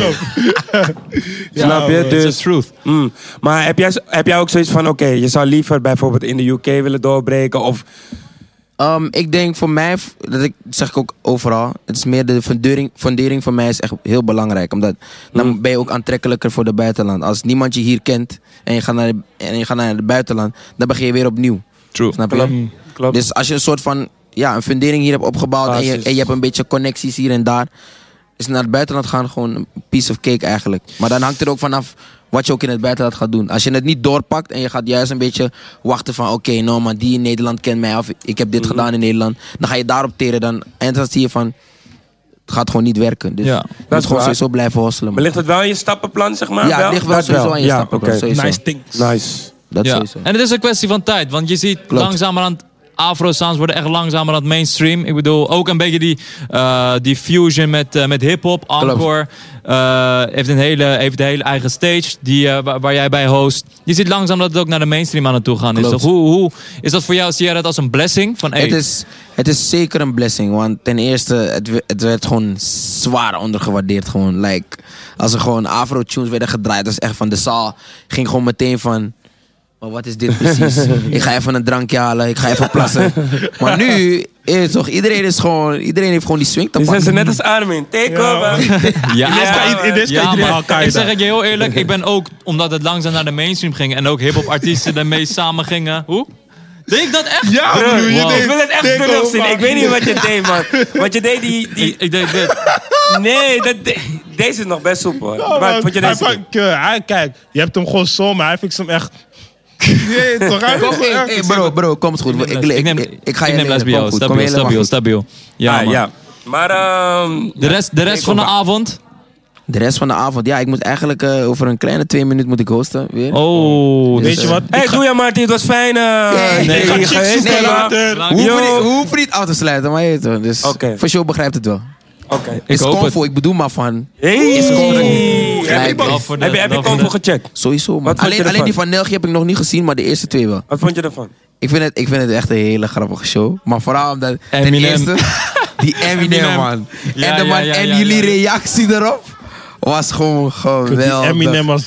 S3: Snap je?
S2: It's
S3: Dus
S2: the truth.
S3: Mm. Maar heb jij, heb jij ook zoiets van, oké, je zou liever bijvoorbeeld in de UK willen doorbreken? Of
S5: Ehm, ik denk voor mij, v- dat ik, dat zeg ik ook overal, het is meer de fundering, fundering voor mij is echt heel belangrijk. Omdat
S2: Mm.
S5: dan ben je ook aantrekkelijker voor de buitenland. Als niemand je hier kent en je gaat naar, de- en je gaat naar het buitenland, dan begin je weer opnieuw.
S2: True.
S5: Snap je?
S3: klopt, klopt.
S5: Dus als je een soort van ja, een fundering hier hebt opgebouwd en je,
S3: Basis.
S5: en je hebt een beetje connecties hier en daar, is naar het buitenland gaan gewoon een piece of cake eigenlijk. Maar dan hangt het ook vanaf wat je ook in het buitenland gaat doen. Als je het niet doorpakt en je gaat juist een beetje wachten van oké, nou maar die in Nederland kent mij of ik heb dit
S3: Mhm.
S5: gedaan in Nederland, dan ga je daarop teren dan en dan zie je van het gaat gewoon niet werken. Dus
S2: Ja,
S5: ja,
S2: dat
S5: dat
S3: is
S5: gewoon
S3: waar.
S5: sowieso blijven hosselen.
S3: maar
S5: man.
S3: ligt het wel in je stappenplan, zeg maar?
S5: Ja, het ligt wel
S3: Dat
S5: sowieso aan je
S3: Ja,
S5: stappen.
S3: oké.
S5: Sowieso.
S1: Nice things.
S3: Nice.
S5: Dat
S2: Ja.
S5: sowieso.
S2: En het is een kwestie van tijd. Want je ziet
S5: Klopt.
S2: langzamerhand... Afro-sounds worden echt langzamerhand mainstream. Ik bedoel, ook een beetje die, eh, die fusion met, eh, met hip-hop. Encore eh, heeft, een hele, heeft een hele eigen stage die, eh, waar, waar jij bij host. Je ziet langzaam dat het ook naar de mainstream aan het toe gaan is.
S5: Klopt.
S2: toch? Hoe, hoe is dat voor jou? Zie jij dat als een blessing? Van, hey,
S5: Het is, het is zeker een blessing. Want ten eerste, het, we- het werd gewoon zwaar ondergewaardeerd. Gewoon. Like, als er gewoon afro-tunes werden gedraaid, was echt van de zaal. Ging gewoon meteen van. Maar wat is dit precies? ik ga even een drankje halen, ik ga even
S2: (laughs)
S5: plassen. maar nu, is toch, iedereen, is gewoon, iedereen heeft gewoon die swing te
S3: Die zijn ze
S5: pakken.
S3: net als Armin. Take
S1: Ja.
S3: over.
S2: Ja,
S1: In deze
S2: maar-
S1: kan- in deze kan
S2: ja,
S1: iedereen
S2: maar
S1: Al-Qaeda.
S2: Ik zeg het je heel
S5: (laughs)
S2: eerlijk, ik ben ook, omdat het langzaam naar de mainstream ging en ook hip-hop artiesten ermee samen gingen. Hoe? Deed ik dat echt?
S1: Ja,
S2: Bro,
S1: broer, je
S2: wow.
S1: deed-
S3: (laughs) Ik wil het echt
S1: Take
S3: terug zien.
S1: over.
S3: Ik weet niet wat je deed, man. Want je deed die... die
S2: Ik, ik deed dit.
S3: nee, dat de- deze is nog best soepel. hoor.
S1: Oh,
S3: maar
S1: man.
S3: vond je
S1: Hij
S3: deze...
S1: pakt, eh, hij- kijk, je hebt hem gewoon zo, maar hij fixt hem echt. (laughs) Nee, toch? Hij fixt hem
S5: Hey,
S1: echt.
S5: hey, bro, bro, komt goed. Ik, ik,
S2: neem,
S5: ik- ik ga je
S2: ik neem
S5: leren.
S2: lesbio,
S5: Kom goed, kom
S2: stabiel,
S5: helemaal
S2: stabiel,
S5: goed.
S2: stabiel. Ja,
S3: Ah,
S2: man.
S3: ja. Maar... ehm,
S2: De rest, de rest van de avond?
S5: De rest van de avond, ja, ik moet eigenlijk eh, over een kleine twee minuten moet ik hosten weer.
S2: Oh.
S1: Weet je wat?
S3: Hey, doe ja, Martin, het was fijn. eh
S5: Nee,
S3: dat
S5: ik
S3: je
S5: ga
S3: hier
S1: chicks
S3: geweest
S1: zoeken
S3: bent, man.
S1: later.
S5: Hoe
S2: Hoe-
S5: hoef,
S3: Yo.
S5: je niet, hoe hoef je niet af te sluiten, maar je weet toch. Dus
S3: Oké.
S5: voor show begrijpt het wel.
S3: Oké.
S5: Is
S2: hoop
S5: comfort, ik bedoel maar van.
S3: Hey.
S5: Is comfort.
S3: Heb je,
S5: Gelijk,
S2: Wel
S5: man.
S2: voor de-
S3: heb je, heb je
S2: wel voor
S3: Convo
S2: de-
S3: gecheckt?
S5: Sowieso, man.
S3: Wat vond je
S5: Alleen, alleen die
S3: ervan?
S5: van Nelgie heb ik nog niet gezien, maar de eerste twee wel.
S3: Wat vond je ervan?
S5: Ik vind het, ik vind het echt een hele grappige show. Maar vooral omdat... Ten
S2: Eminem. (laughs)
S5: eerste, die Eminem,
S2: Eminem.
S5: man.
S2: Ja,
S5: en de
S2: ja,
S5: man-
S2: ja,
S5: en
S2: ja,
S5: jullie
S2: ja.
S5: reactie erop was gewoon geweldig.
S1: Die Eminem was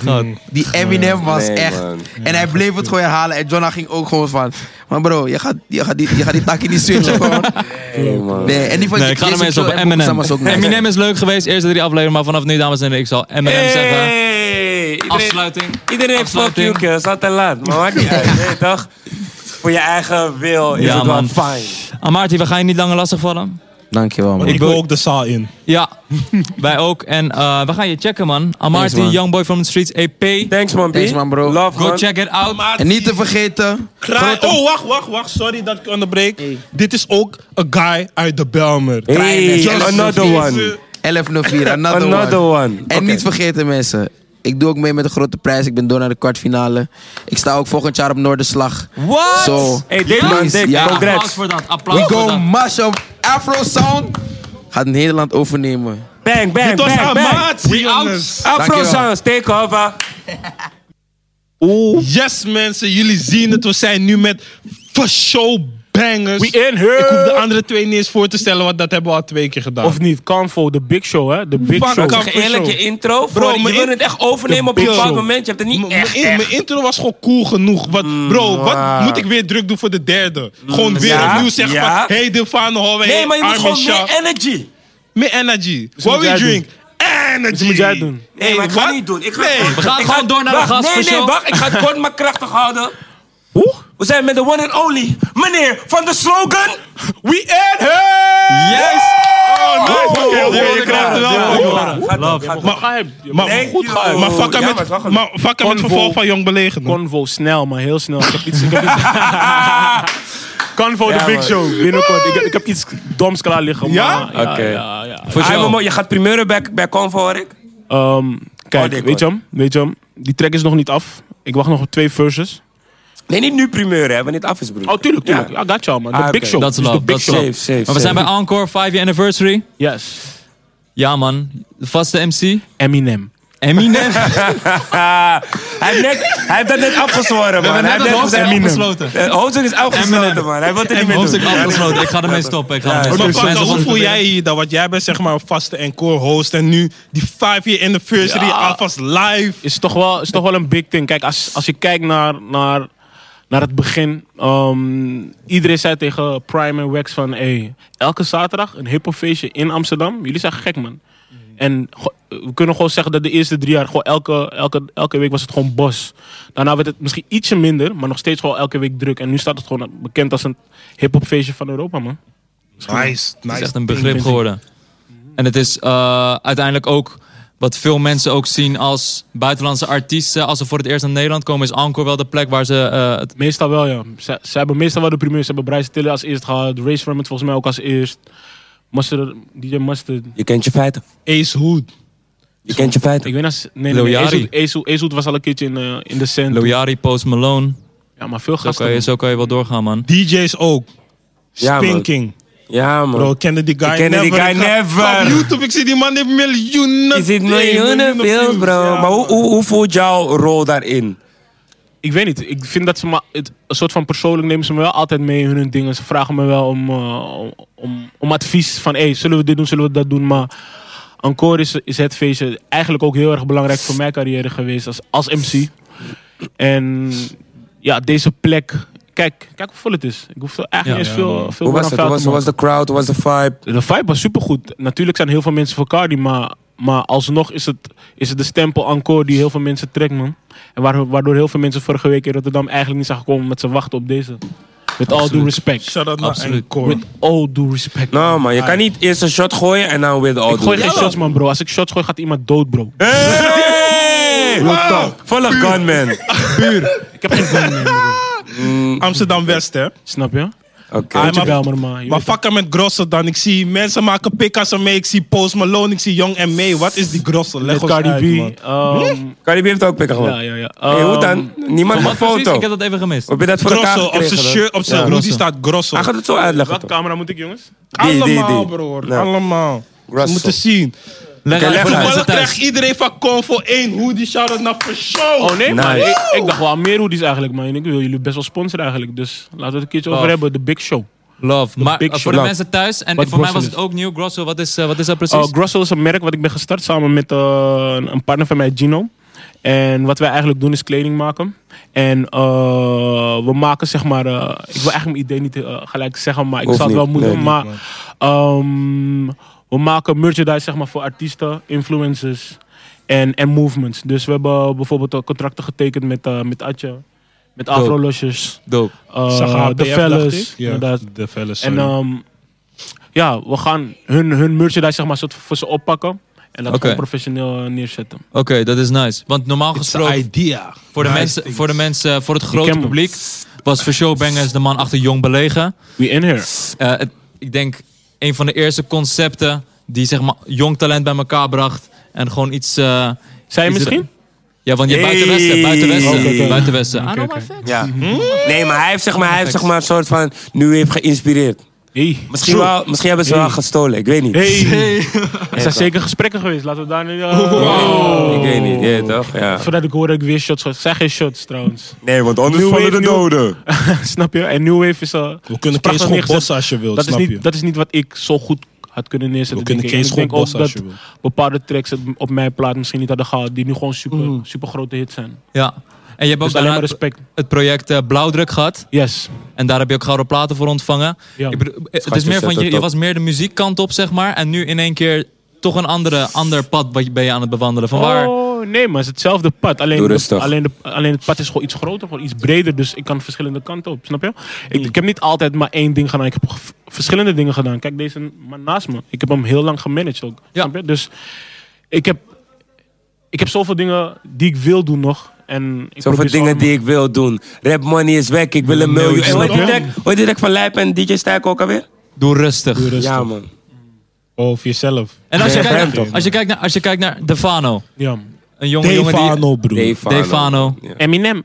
S5: Die Eminem was
S3: Nee,
S5: echt.
S3: man.
S5: En hij bleef het gewoon herhalen. En Jonah ging ook gewoon van. Maar bro, je gaat, je gaat die, je gaat die tak in die
S3: (laughs)
S5: switchen gewoon.
S3: Hey, man.
S5: Nee, en die van
S2: Nee, ik ga hem eens op Eminem. Eminem is leuk geweest, eerste drie afleveringen, maar vanaf nu, dames en heren, ik zal Eminem zeggen.
S3: Hey, iedereen-
S2: Afsluiting.
S3: Iedereen heeft fuck you
S2: Afsluiting.
S3: kills, altijd laat. Maar maakt niet
S2: (laughs)
S3: uit, nee, toch? Voor je eigen wil is
S2: Ja,
S3: het
S2: man.
S3: wel fijn.
S2: Amarty, we gaan je niet langer lastigvallen.
S5: Dankjewel, man.
S1: Ik wil ook de zaal in.
S2: Ja, (laughs) wij ook. En eh, we gaan je checken, man. Amarty,
S5: Thanks, man.
S2: Youngboy from the Streets EP.
S3: Thanks man, B.
S5: Thanks, man, bro.
S3: Love
S2: Go
S3: man.
S2: check it out.
S5: En niet te vergeten.
S1: Kraai- Oh, wacht, wacht, wacht. Sorry dat ik onderbreek. Dit is ook een guy uit de Belmer.
S3: Hey,
S5: Kleine-
S3: another
S1: Deze-
S3: one. (laughs)
S5: 1104, another,
S3: Another
S5: one.
S3: one.
S5: En
S3: Oké.
S5: niet vergeten, mensen. Ik doe ook mee met de grote prijs. Ik ben door naar de kwartfinale. Ik sta ook volgend jaar op Noorderslag.
S2: What?
S5: Zo.
S3: Hey, dit man, dik.
S5: Ja.
S2: Applaus
S3: Congrats.
S2: voor dat. Applaus
S5: We
S2: voor
S5: go
S2: dat.
S5: mash up Afro Sound. Gaat Nederland overnemen.
S3: Bang, bang,
S1: Dit was
S3: bang,
S1: aan
S3: bang.
S1: maat, jongens.
S3: Afro
S5: Dankjewel.
S3: Sounds, take over.
S1: Yes, mensen, jullie zien het. We zijn nu met showbangers.
S6: We in here.
S1: Ik hoef de andere twee niet eens voor te stellen, want dat hebben we al twee keer gedaan.
S6: Of niet, Canvo, de big show, hè? De big
S1: Fuck,
S6: show.
S1: Canvo.
S3: Zeg eerlijk, je intro.
S1: Bro,
S3: Bro, je
S1: mijn
S3: wil
S1: in-
S3: het echt overnemen op een
S1: Big
S3: bepaald
S1: show.
S3: moment. Je hebt het
S1: M-
S3: niet
S1: mijn
S3: echt.
S1: in-
S3: echt. Mm,
S1: mijn intro was gewoon cool genoeg. Wat, bro, wat moet ik weer druk doen voor de derde? Gewoon weer
S3: ja,
S1: opnieuw zeggen
S3: ja.
S1: van... Hey, Devane Hallway,
S3: Nee, maar je moet
S1: Armin
S3: gewoon meer
S1: Shah.
S3: energy.
S1: Meer energy.
S6: Dus moet
S1: What we
S6: jij doen. Dus
S1: drink? Energy.
S6: moet jij doen.
S3: Nee, maar ik ga
S1: wat?
S3: het niet doen. Ik ga
S1: Nee.
S2: We gaan
S3: ik
S2: gewoon door naar de
S3: wacht,
S2: gast
S3: Nee,
S2: voor
S3: nee,
S2: show.
S3: wacht. Ik ga het kort maar krachtig houden. We zijn met de one and only, meneer van de slogan... We in here!
S2: Yes!
S1: Oh, nice. Oké, oké,
S2: oh,
S1: je
S2: oh,
S1: krijgt er wel.
S2: oh, oh,
S1: hoor.
S3: Gaat door, gaat door.
S1: Maar- Maar
S3: Thank
S1: goed
S3: you.
S1: Maar vakken
S3: Ja, maar
S1: met,
S3: het was goed.
S1: maar vakken met
S6: Convo.
S1: vervolg van jong belegen. man.
S6: Convo, snel, maar heel snel. Ik heb iets... Ik heb iets- Convo, de
S3: Ja,
S6: big
S3: man.
S6: show. Binnenkort. Ik heb, ik heb iets doms klaar liggen.
S1: Ja?
S6: maar- ja,
S2: Oké.
S6: ja, ja.
S2: Voor
S3: Ah,
S2: jou.
S3: maar je gaat primeuren bij, bij Convo, hoor ik.
S6: Ehm,
S3: Oh,
S6: kijk,
S3: dik,
S6: weet je
S3: hoor.
S6: hem? Weet je hem? Die track is nog niet af. Ik wacht nog op twee verses.
S3: Nee, niet nu primeuren, hè, wanneer het af is, broer.
S6: Oh, tuurlijk, tuurlijk.
S3: Ja.
S6: I got you, man. De
S3: Ah,
S6: big
S3: oké.
S6: show.
S2: Dat is
S6: Dus de
S2: love,
S6: big
S2: dat is
S6: show.
S2: love.
S3: Safe, safe,
S2: Maar we zijn bij Encore 5 year anniversary.
S6: Yes.
S2: Ja man, de vaste MC.
S6: Eminem.
S2: (laughs) Eminem.
S3: Ah, hij, heeft net, hij heeft dat net afgezworen, man. Hij heeft net gezegd-
S1: afgesloten.
S3: Eh, Hoofdstuk is afgesloten, man. Hij wil het er niet meer
S2: Hoofdstuk
S3: doen.
S2: afgesloten. Ik ga ermee stoppen. Ik ga ermee
S1: Maar
S2: stoppen.
S1: Frank,
S2: Mensen
S1: hoe
S2: gaan-
S1: voel jij je dan? Want jij bent zeg maar een vaste encore host en nu die five year anniversary alvast live.
S6: is toch wel, is toch wel een big thing. Kijk, als, als je kijkt naar, naar, naar het begin. ehm, iedereen zei tegen Prime en Wax van... Hey, elke zaterdag een hiphopfeestje in Amsterdam. Jullie zijn gek, man. En go- we kunnen gewoon zeggen dat de eerste drie jaar... Gewoon elke, elke, elke week was het gewoon bos. Daarna werd het misschien ietsje minder... maar nog steeds gewoon elke week druk. En nu staat het gewoon bekend als een hiphopfeestje van Europa, man.
S1: Nice,
S2: Het
S1: nice.
S2: is echt een begrip geworden. En het is eh, uiteindelijk ook wat veel mensen ook zien als buitenlandse artiesten. Als ze voor het eerst naar Nederland komen, is Encore wel de plek waar ze eh, het
S6: Meestal wel, ja. Ze, ze hebben meestal wel de primeur. Ze hebben Bryce Tiller als eerst gehad. Race Raymond volgens mij ook als eerst. Mustard, DJ Mustard.
S3: Je kent je feiten.
S1: Ace Hood.
S3: Je kent je feiten.
S6: Ik weet niet, nee, nee,
S2: Lil
S6: nee.
S2: Yachty.
S6: Ezoet- Ezoet- Ezoet was al een keertje in, eh, in de cent.
S2: Loyari, Post Malone.
S6: Ja, maar veel
S2: Zo
S6: gasten.
S2: kan, je, zo kan je wel doorgaan, man.
S1: DJ's ook.
S3: Ja, man.
S1: Spinking.
S3: Ja, man.
S1: Bro, ik kende die guy
S3: Ik kende die guy
S1: Ik ga-
S3: never.
S1: ga Op YouTube, ik zie die man heeft miljoenen.
S3: Je ziet
S1: views,
S3: miljoenen veel, bro.
S1: Ja,
S3: maar hoe, hoe, hoe voelt jouw rol daarin?
S6: Ik weet niet. Ik vind dat ze me, het, een soort van persoonlijk nemen ze me wel altijd mee in hun dingen. Ze vragen me wel om, eh, om- om, om advies. Van, hey, zullen we dit doen, zullen we dat doen? Maar Encore is, is het feestje eigenlijk ook heel erg belangrijk voor mijn carrière geweest als, als MC. En ja, deze plek. Kijk, kijk hoe vol het is. Ik hoef er eigenlijk
S2: Ja,
S6: niet eens veel, veel
S3: Hoe
S6: meer
S3: was het?
S6: aan
S3: Hoe
S6: vuil te
S3: was, hoe was
S6: maken.
S3: de crowd? Hoe was de vibe?
S6: De vibe was supergoed. Natuurlijk zijn heel veel mensen voor Cardi, maar, maar alsnog is het, is het de stempel encore die heel veel mensen trekt, man. En waar- waardoor heel veel mensen vorige week in Rotterdam eigenlijk niet zijn gekomen omdat ze wachten op deze. With all due respect.
S1: Shout out naar
S2: Absoluut.
S1: Encore.
S6: With all due respect.
S3: Nou, man, je kan niet eerst een shot gooien en dan weer de
S6: ik
S3: auto.
S6: gooi geen shots, man, bro. Als ik shots gooi, gaat iemand dood, bro.
S3: Hey!
S1: Ah!
S3: Volle gunman.
S6: Ik heb geen gun meer, bro.
S1: Amsterdam West, hè.
S6: Snap je?
S3: Oké.
S1: Ah,
S6: Beetje
S1: maar-
S6: bel me, man. Je
S1: Maar
S6: weet het.
S1: fucken met Grosso dan. Ik zie mensen maken pikka's mee. Ik zie Post Malone, ik zie Young en May. Wat is die Grosso? Leg
S6: Met
S1: ons
S6: Cardi
S1: uit, man.
S6: B. ehm,
S3: Caribbean heeft ook pikken
S6: ja,
S3: gewoon.
S6: ja, ja.
S3: Hey, hoe dan?
S6: Ehm,
S3: Niemand
S2: Wat
S3: mag
S2: precies?
S3: foto.
S2: Ik heb dat even gemist.
S3: Heb je dat voor elkaar
S1: Grosso, op
S3: gekregen?
S1: zijn
S3: dan?
S1: shirt, op zijn
S3: Ja.
S1: hoodie staat Grosso.
S3: Hij gaat het zo uitleggen,
S6: Welke
S3: toch?
S6: camera moet ik, jongens?
S3: die, die.
S1: Allemaal, broer.
S3: Ja.
S1: Allemaal. We
S3: Grosso.
S1: moeten zien.
S2: Leg
S3: Oké,
S2: uit
S3: leg
S2: voor de
S3: uit.
S2: mensen
S1: Toevallig krijgt
S2: thuis.
S1: iedereen van Convo één hoodie. Shout out naar For Show.
S6: Oh nee, maar
S3: Nice.
S6: ik, ik dacht wel aan meer hoodies eigenlijk, man. Ik wil jullie best wel sponsoren eigenlijk. Dus laten we het een keertje over
S2: Love.
S6: hebben. De Big Show.
S2: Love. Maar
S6: big
S2: eh, voor
S6: show.
S2: de
S6: Love.
S2: mensen thuis, en
S6: Wat
S2: voor mij
S6: Grosso
S2: was het
S6: is.
S2: ook nieuw. Grosso, wat is, eh, wat is dat
S6: Uh,
S2: precies?
S6: Grosso is een merk wat ik ben gestart samen met eh, een- een partner van mij, Gino. En wat wij eigenlijk doen is kleding maken. En eh, we maken zeg maar... eh, ik wil eigenlijk mijn idee niet eh, gelijk zeggen, maar ik
S3: Hoeft
S6: zal het
S3: niet.
S6: wel moeten.
S3: Nee, niet,
S6: maar ehm, we maken merchandise zeg maar, voor artiesten, influencers en, en movements. Dus we hebben bijvoorbeeld eh, contracten getekend met, eh, met Atje, met
S2: Dope.
S6: Afro Losjes.
S2: Dope.
S6: eh
S1: Zag
S6: de
S1: HPF, dacht
S6: fellas.
S1: ik. Ja,
S6: inderdaad.
S1: de fellas.
S6: En
S1: sorry.
S6: ehm, ja, we gaan hun, hun merchandise zeg maar, soort voor ze oppakken. En dat
S2: Oké.
S6: gewoon professioneel eh, neerzetten.
S2: Oké, dat is nice. Want normaal gesproken...
S1: idea.
S2: Voor de,
S1: Nice
S2: mensen,
S1: things.
S2: voor de mensen, eh, voor het
S6: ken
S2: grote
S6: hem.
S2: publiek was voor Showbangers de man achter Jong Belegen.
S6: We in here.
S2: Eh, het- ik denk een van de eerste concepten die zeg maar jong talent bij elkaar bracht. En gewoon iets... eh,
S6: Zij
S2: iets-
S6: misschien?
S2: Ja, want je
S3: Hey.
S2: buitenwesten, buitenwesten,
S6: Oké, oké.
S2: buitenwesten.
S6: Oké,
S2: Ah,
S6: oké.
S3: Ja. Nee, maar hij heeft zeg maar, hij heeft, zeg maar een soort van nu heeft geïnspireerd.
S6: Hey.
S3: Misschien, wel, misschien hebben ze wel gestolen, ik weet niet.
S6: Hey.
S1: (laughs)
S6: Er zijn zeker gesprekken geweest. Laten we daar nu... eh,
S1: Oh,
S3: Ik weet niet, ja, toch? Ja.
S6: Voordat ik hoor dat ik weer shots gooi. Zeg geen shots trouwens. (laughs)
S3: Nee, want anders
S6: New
S3: vallen de
S6: wave, new-
S3: doden.
S6: snap je? En New Wave is... eh,
S1: We kunnen
S6: is prachtig
S1: Kees gewoon
S6: neergezet.
S1: bossen als je wilt,
S6: dat
S1: snap
S6: is
S1: je?
S6: niet, Dat is niet wat ik zo goed had kunnen neerzetten.
S1: We kunnen
S6: denk ik. En
S1: Kees
S6: ik denk
S1: gewoon
S6: ook
S1: bossen als
S6: dat
S1: je wilt.
S6: bepaalde tracks het op mijn plaat misschien niet hadden gehad. Die nu gewoon super,
S1: Mhm.
S6: super grote hits zijn.
S2: Ja. En je hebt ook
S6: Dus alleen
S2: daarna
S6: maar respect.
S2: het project eh, Blauwdruk gehad.
S6: Yes.
S2: En daar heb je ook gouden platen voor ontvangen.
S6: Ja.
S2: Ik bedoel, eh, het is
S3: Schatjes,
S2: meer van,
S3: zet
S2: je,
S3: het
S2: je
S3: op.
S2: was meer de muziekkant op, zeg maar. En nu in één keer toch een andere, ander pad wat je- ben je aan het bewandelen. Van waar...
S6: Oh, nee, maar het is hetzelfde pad. Alleen,
S3: Doe
S6: de-
S3: rustig.
S6: alleen, de- alleen het pad is gewoon iets groter, gewoon iets breder. Dus ik kan verschillende kanten op, snap je? Ik, ik heb niet altijd maar één ding gedaan. Ik heb v- verschillende dingen gedaan. Kijk, deze man naast me. Ik heb hem heel lang gemanaged ook.
S2: Ja.
S6: Snap je? Dus ik heb, ik heb zoveel dingen die ik wil doen nog. En ik
S3: Zoveel
S6: probeer ze
S3: dingen
S6: allemaal-
S3: die ik wil doen. Rap money is weg, ik wil een miljoen. En hoor je die
S6: Miljoen.
S3: track- hoor je direct van Lijp en DJ Stijk ook alweer?
S2: Doe rustig.
S1: Doe rustig.
S3: Ja, man.
S1: Of Oh, jezelf.
S2: En als je,
S3: Nee, hem
S2: kijkt,
S3: toch.
S2: als, je kijkt naar, als je kijkt naar Defano.
S6: Ja.
S2: Een jonge jongen die...
S1: Defano, broer.
S3: Defano.
S2: Defano.
S6: Eminem.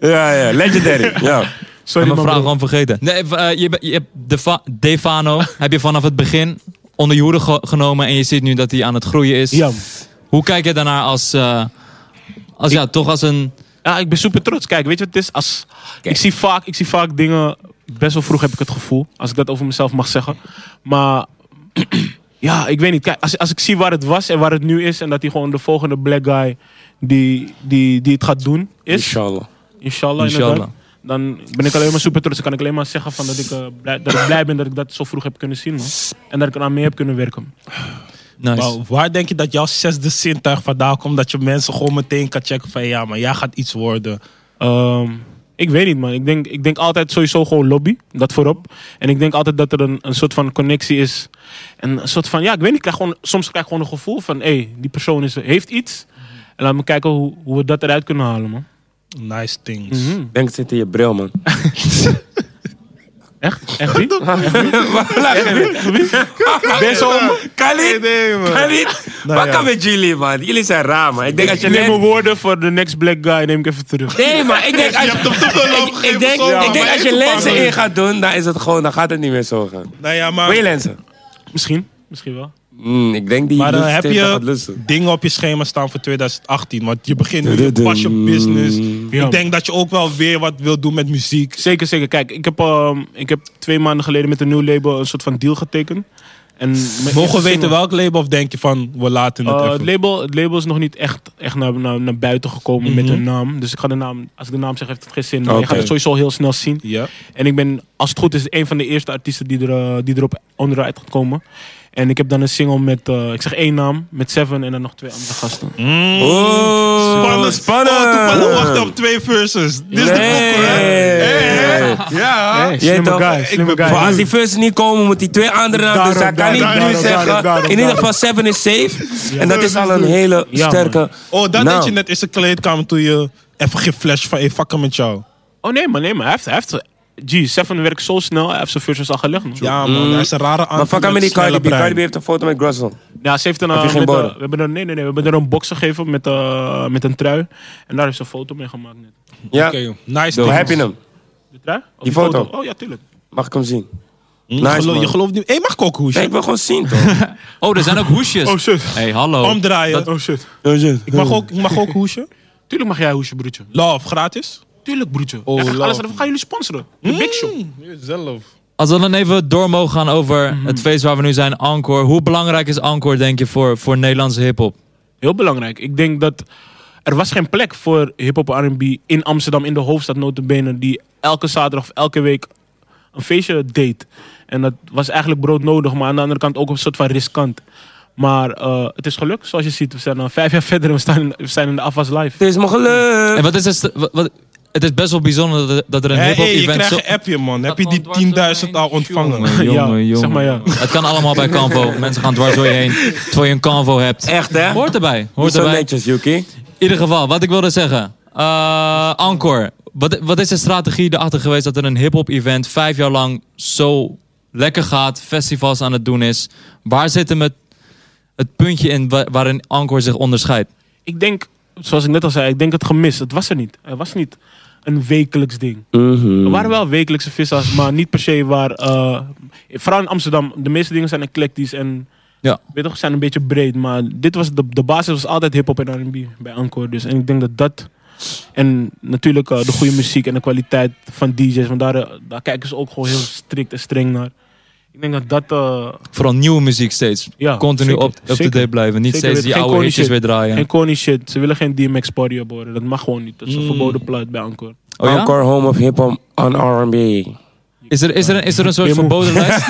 S3: Ja, ja, legendary. ja.
S2: Ik
S6: Sorry,
S2: heb
S6: man.
S2: mijn vraag
S6: bro.
S2: gewoon vergeten. Nee, eh, je, hebt- je hebt Defa- Defano (laughs) heb je vanaf het begin onder je hoede ge- genomen. En je ziet nu dat hij aan het groeien is.
S6: Ja.
S2: Hoe kijk je daarnaar als... eh, als ja, toch als een...
S6: Ja, ik ben super trots. Kijk, weet je wat het is? Als, ik, zie vaak, ik zie vaak dingen, best wel vroeg heb ik het gevoel, als ik dat over mezelf mag zeggen. Maar (clears throat) ja, ik weet niet. Kijk, als, als ik zie waar het was en waar het nu is en dat hij gewoon de volgende black guy die, die, die het gaat doen is,
S3: Inshallah.
S6: inshallah,
S2: Inshallah.
S6: inderdaad, dan ben ik alleen maar super trots. Dan kan ik alleen maar zeggen van dat, ik, eh, blij, dat ik blij ben dat ik dat zo vroeg heb kunnen zien. Man. En dat ik eraan mee heb kunnen werken.
S2: Nice.
S1: Maar waar denk je dat jouw zesde zintuig vandaan komt? Dat je mensen gewoon meteen kan checken van ja, maar jij gaat iets worden.
S6: Ehm, ik weet niet, man. Ik denk, ik denk altijd sowieso gewoon lobby. Dat voorop. En ik denk altijd dat er een, een soort van connectie is. En een soort van, ja, ik weet niet. Ik krijg gewoon, soms krijg ik gewoon een gevoel van, hé, hey, die persoon is, heeft iets. En laten we kijken hoe, hoe we dat eruit kunnen halen, man.
S1: Nice things. (laughs)
S3: Denk het zit in je bril, (laughs) man.
S6: Echt?
S1: (laughs)
S6: Echt niet?
S3: (laughs) Ben zo... Khalid, Khalid, wat kan met jullie, man? Jullie zijn raar, man. Ik denk als je
S6: Ik neem mijn
S3: net...
S6: woorden voor de next black guy, neem ik even terug.
S3: Nee, maar ik denk als je... Ik- Ik denk, ik denk als je lenzen in gaat doen, dan is het gewoon, dan gaat het niet meer zo gaan.
S1: Nou ja,
S3: Wil je
S1: maar,
S3: lenzen?
S6: Misschien. Misschien wel.
S3: Mm, ik denk die
S1: maar dan
S3: lust
S1: heb
S3: tegen gaat
S1: je
S3: lussen.
S1: dingen op je schema staan voor 2018. Want je begint nu, je pas je business.
S6: Ja.
S1: Ik denk dat je ook wel weer wat wil doen met muziek.
S6: Zeker, zeker. Kijk, ik heb, ehm, ik heb twee maanden geleden met een nieuw label een soort van deal getekend. En mijn eerste
S1: Mogen we weten
S6: single-
S1: welk label of denk je van we laten het
S6: Eh,
S1: even?
S6: het, label, het label is nog niet echt, echt naar, naar, naar buiten gekomen met een naam. Dus ik ga de naam, als ik de naam zeg, heeft het geen zin. Maar je
S3: Mhm. Oké.
S6: gaat het sowieso heel snel zien.
S1: Ja.
S6: En ik ben, als het goed is, een van de eerste artiesten die, er, eh, die erop onderuit gaat komen. En ik heb dan een single met, eh, ik zeg één naam, met Seven en dan nog twee andere gasten.
S3: Oh,
S1: Spannend,
S3: spannend.
S1: Oh, toevallig wachten op twee verses. Dit is de boek, hè?
S3: Nee.
S1: Ja.
S6: Hey,
S3: Jij
S6: slimme
S3: toch?
S6: guy, slimme
S3: Maar
S6: guy.
S3: als die first niet komen, moet die twee anderen aan. Dus hij
S6: Daarom,
S3: kan niet
S6: daarom,
S3: nu
S6: daarom,
S3: zeggen.
S6: daarom, daarom,
S3: In ieder geval, Seven is safe. En dat is al een hele
S6: Ja,
S3: sterke.
S1: Oh, dat
S3: Nou.
S1: deed je net in zijn kleedkamer toen je even geen flash van hey, fucken met jou.
S6: Oh nee, maar nee, maar hij heeft, hij heeft, gee, Seven werkt zo snel, hij heeft zijn verses al gelegd. man.
S1: Ja man, dat is een rare aantal.
S3: Mm. Maar fuck aan met die Cardi B. Cardi B heeft een foto met Grossel.
S6: Ja, ze heeft een.
S3: Heb je
S6: eh,
S3: geen
S6: met, eh,
S3: borden?
S6: we hebben er, nee, nee, nee, we hebben er een box gegeven met, eh, met een trui. En daar heeft ze een foto mee gemaakt. Net.
S3: Ja,
S1: Oké, nice.
S3: Hoe
S1: things.
S3: heb je hem?
S6: De trui? Of
S3: Die foto?
S6: Oh ja, tuurlijk.
S3: Mag ik hem zien?
S1: Hm,
S3: Nice,
S1: geloof- je
S3: man.
S1: gelooft niet. Hé, mag ik ook hoesje?
S3: Nee, ik wil gewoon zien, (laughs) toch?
S2: Oh, er zijn ook hoesjes.
S6: Oh shit.
S2: hey, hallo.
S1: Omdraaien.
S6: Oh shit.
S1: Ik mag ook, ik mag ook hoesje.
S6: Tuurlijk mag jij hoesje, broertje.
S1: Love, gratis.
S6: Tuurlijk, broertje.
S1: Oh,
S6: Ja, ga- alles,
S1: love.
S6: we gaan jullie sponsoren. De Big Show.
S1: Zelf.
S2: Als we dan even door mogen gaan over
S1: Mhm.
S2: het feest waar we nu zijn, Encore. Hoe belangrijk is Encore, denk je, voor, voor Nederlandse hip-hop?
S6: Heel belangrijk. Ik denk dat er was geen plek voor hip-hop en R&B in Amsterdam, in de hoofdstad notabene, die elke zaterdag of elke week een feestje deed. En dat was eigenlijk broodnodig, maar aan de andere kant ook een soort van riskant. Maar eh, het is gelukt, zoals je ziet. We zijn al vijf jaar (laughs) verder en we, staan in, we zijn in de afwas live.
S3: Het is me
S2: En
S3: gelukt.
S2: wat is het, wat, wat- het is best wel bijzonder dat, dat er een
S1: Hé, je
S2: hip-hop-event...
S1: krijgt
S2: zo-
S1: een appje man. Heb je
S2: Dat
S1: die
S2: gewoon dwars
S1: 10.000
S2: doorheen.
S1: al ontvangen?
S2: Jongen,
S6: Ja,
S2: jongen,
S6: zeg maar ja.
S2: Het kan allemaal bij
S1: (laughs)
S2: Canvo. Mensen gaan dwars door je heen, terwijl je een Canvo hebt.
S3: Echt, hè?
S2: Hoort erbij, hoort
S3: Zo
S2: erbij.
S3: netjes, Yuki.
S2: In ieder geval, wat ik wilde zeggen. Eh Encore. Wat, wat is de strategie erachter geweest dat er een hip-hop event vijf jaar lang zo lekker gaat, festivals aan het doen is? Waar zit hem het, het puntje in wa- waarin Encore zich onderscheidt?
S6: ik denk, zoals ik net al zei, ik denk het gemist. Het was er niet. Het was niet een wekelijks ding. Er waren wel wekelijkse vissers, maar niet per se waar... eh, vooral in Amsterdam, de meeste dingen zijn eclectisch en...
S2: Ja.
S6: Weet je toch, zijn een beetje breed, maar dit was de, de basis was altijd hip-hop en RB bij Encore. Dus en ik denk dat dat. En natuurlijk eh, de goede muziek en de kwaliteit van DJ's, want daar, eh, daar kijken ze ook gewoon heel strikt en streng naar. Ik denk dat dat. eh,
S2: Vooral nieuwe muziek steeds.
S6: Ja,
S2: Continu
S6: zeker,
S2: op- up-to-date
S6: zeker.
S2: blijven. Niet
S6: Zeker
S2: steeds
S6: weten.
S2: die
S6: Geen
S2: oude
S6: corny
S2: hitjes
S6: shit.
S2: weer draaien.
S6: En corny shit. Ze willen geen DMX party op horen. Dat mag gewoon niet. Dat is een
S1: Mm.
S6: verboden plaat bij Encore.
S2: Oh ja?
S3: Encore home of hip-hop on R&B.
S2: Is er, is, er een, is er een soort
S6: Je moet-
S2: verboden
S6: (laughs)
S2: lijst?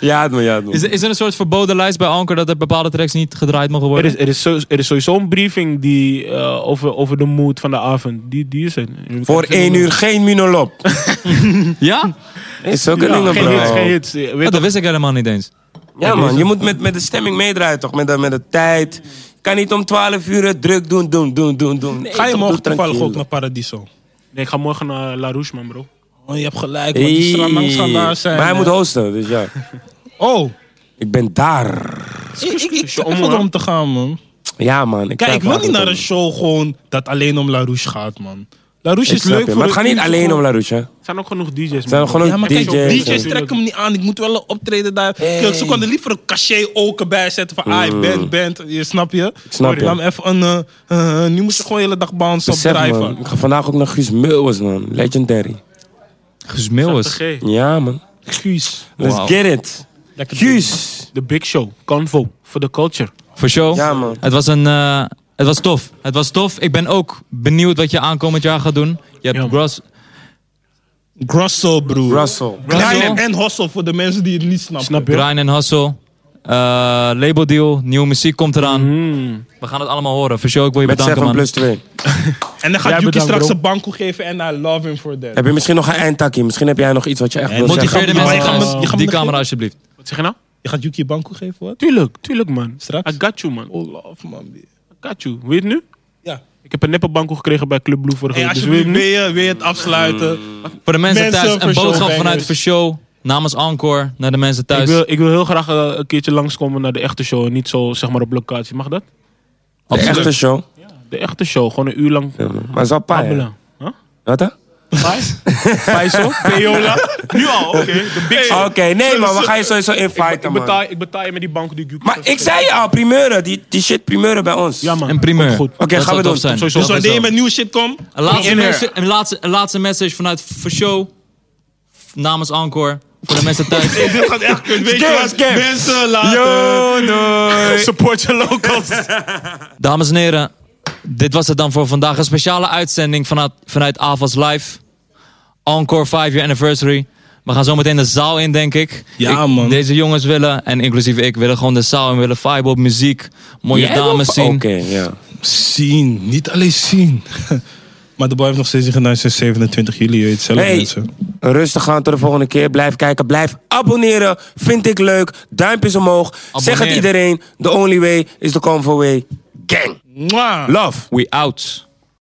S3: ja, het moet, ja, het moet.
S2: Is er, is er een soort verboden lijst bij Anker dat er bepaalde tracks niet gedraaid mogen
S6: Er
S2: worden?
S6: is, er, is zo- er is sowieso een briefing die, eh, over, over de mood van de avond. Die, die is er.
S3: Voor één uur geen minolop.
S2: Ja?
S3: Is zulke
S6: Ja,
S3: dingen,
S6: geen
S3: bro.
S6: hits, geen hits. Weet
S2: Oh,
S6: toch-
S2: dat wist ik helemaal niet eens.
S3: Ja, man. Je moet met, met de stemming meedraaien, toch? Met de, met de tijd. Je kan niet om 12 uur het druk doen, doen, doen, doen, doen. Nee,
S1: Ga je
S3: toch,
S1: morgen
S3: doe
S1: toevallig ook
S3: tranquilo.
S1: naar Paradiso?
S6: Nee, ik ga morgen naar La Rouche, man, bro.
S1: Oh, je hebt gelijk, want die
S3: Hey.
S1: strandlangs gaan daar zijn. eh.
S3: Maar hij
S1: hè.
S3: moet hosten, dus ja.
S1: Oh,
S3: Ik ben daar.
S1: ik, ik, ik
S6: Show,
S1: twijfelde
S6: man.
S1: om te gaan, man.
S3: Ja, man.
S1: Kijk, ik wil
S3: twijfel
S1: niet naar een
S3: altijd.
S1: show gewoon dat alleen om La Rouche gaat, man. La Rouche
S3: Ik
S1: is
S3: snap
S1: leuk
S3: je,
S1: voor
S3: Maar het
S1: een
S3: gaat niet
S1: uurtje
S3: alleen om
S1: gewoon-
S3: La Rouche, hè.
S6: Er zijn ook genoeg DJ's, man.
S3: Er zijn gewoon
S1: Ja, maar kijk, eh,
S3: DJ's.
S1: DJ's,
S6: DJ's.
S1: trekken hem niet aan. Ik moet wel een optreden daar. Kijk, Ze konden liever een cachet ook erbij zetten van... Ah, je bent, bent. Je, snap je?
S3: Mm. snap je.
S1: Laat me even een... eh, eh, nu moet je gewoon de hele dag bounce op
S3: Besef,
S1: drijven.
S3: man. Ik ga vandaag ook naar Guus Meeuwis, man. Legendary.
S6: Zegt
S2: Gesmeeuwis.
S6: de G.
S3: Ja, man.
S1: Guus.
S3: Let's
S2: Wauw.
S3: get it.
S1: Lekker
S3: Guus.
S6: The Big Show, Convo, voor de culture.
S2: Voor show.
S3: Ja, man.
S2: Het was een... eh, het was tof. Het was tof. Ik ben ook benieuwd wat je aankomend jaar gaat doen. Je hebt
S6: Ja, man.
S2: Gross...
S1: ding. Grosso, broer.
S3: Russell.
S1: Klein en hossel voor de mensen die het niet snappen.
S6: Snap je?
S2: Grind en Hustle. eh label deal. Nieuwe muziek komt eraan.
S6: Mm.
S2: We gaan het allemaal horen. Voor show, ik wil je
S3: Met
S2: bedanken,
S3: 7
S2: man.
S3: plus 2.
S1: En dan gaat
S6: Jij
S1: Yuki
S6: bedankt,
S1: straks
S6: bro.
S1: een banko geven en I love him for that.
S3: Heb je misschien nog een eindtakje? Misschien heb jij nog iets wat je echt
S1: En
S3: wil
S1: Je
S2: Motiveer de
S1: gaat-
S2: mensen,
S1: je gaat-
S2: guys.
S1: je gaat me
S2: Die
S1: nog
S2: camera
S1: geven?
S2: alsjeblieft.
S6: Wat zeg je nou?
S1: Je gaat Yuki een banko geven, wat?
S6: Tuurlijk, tuurlijk, man.
S1: Straks?
S6: I got you, man.
S1: Oh, love, man.
S6: I got you. Wil je het nu?
S1: Ja.
S6: Ik heb een neppe banko gekregen bij Club Blue vorige
S1: Hey,
S6: week. Dus wil je
S1: alsjeblieft,
S6: het nu?
S1: wil je, wil je het afsluiten?
S2: Voor de mensen,
S1: Mensen
S2: thuis,
S1: voor
S2: een
S1: show,
S2: boodschap
S1: bangers.
S2: vanuit voor show. Namens Encore naar de mensen
S6: Ik
S2: thuis.
S6: wil, ik wil heel graag eh, een keertje langskomen naar de echte show. en Niet zo, zeg maar, op locatie. Mag dat?
S3: De
S2: Absoluut.
S3: echte show.
S6: De echte show. Gewoon een uur lang
S3: Ja, man. Mhm. Maar zal paai.
S6: babbelen. Huh?
S3: Wat hè?
S6: Paiso? (laughs) Peola? Nu al, oké. De big show.
S3: Oké, nee, man. We
S6: ze-
S3: gaan je sowieso
S6: Ik,
S3: inviten,
S6: ik, betaal,
S3: Oh, man.
S6: ik betaal je met die banko die ik
S3: Maar ik zei je al, primeuren. Die, die shit primeuren bij ons.
S6: Ja, man.
S2: Een primeur.
S6: Komt Goed.
S3: Oké,
S2: Dat
S3: gaan
S2: zou
S3: we
S2: tof
S3: doen.
S2: zijn.
S6: Sowieso.
S1: Dus
S6: Dat
S1: wanneer je met nieuwe shit
S6: (laughs)
S1: komt,
S2: Een laatste,
S1: in er.
S2: message, een, laatste, een laatste message vanuit voor show. F- Namens Encore. Voor de
S1: (laughs)
S2: mensen thuis.
S1: Dit gaat echt kut. Weet je
S3: Scam,
S1: wat?
S3: scam.
S1: Mensen, laten.
S3: Yo, doei.
S6: Support your locals.
S2: Dames en heren, dit was het dan voor vandaag. Een speciale uitzending vanuit, vanuit AVAS Live. Encore 5 year anniversary. We gaan zo meteen de zaal in, denk ik.
S1: Ja,
S2: Ik-
S1: man.
S2: Deze jongens willen, en inclusief ik, willen gewoon de zaal in. Willen vibe op muziek. Mooie dames zien.
S3: Oké, ja.
S1: Zien, niet alleen zien. (laughs) Maar de boy heeft nog steeds niet gedaan sinds 27 juli, je weet zelf
S3: Hey,
S1: mensen.
S3: rustig aan tot de volgende keer. Blijf kijken, blijf abonneren. Vind ik leuk. Duimpjes omhoog. Zeg het
S2: Abonneer.
S3: iedereen. The only way is the convo way. Gang.
S1: Mwah.
S3: Love.
S2: We out.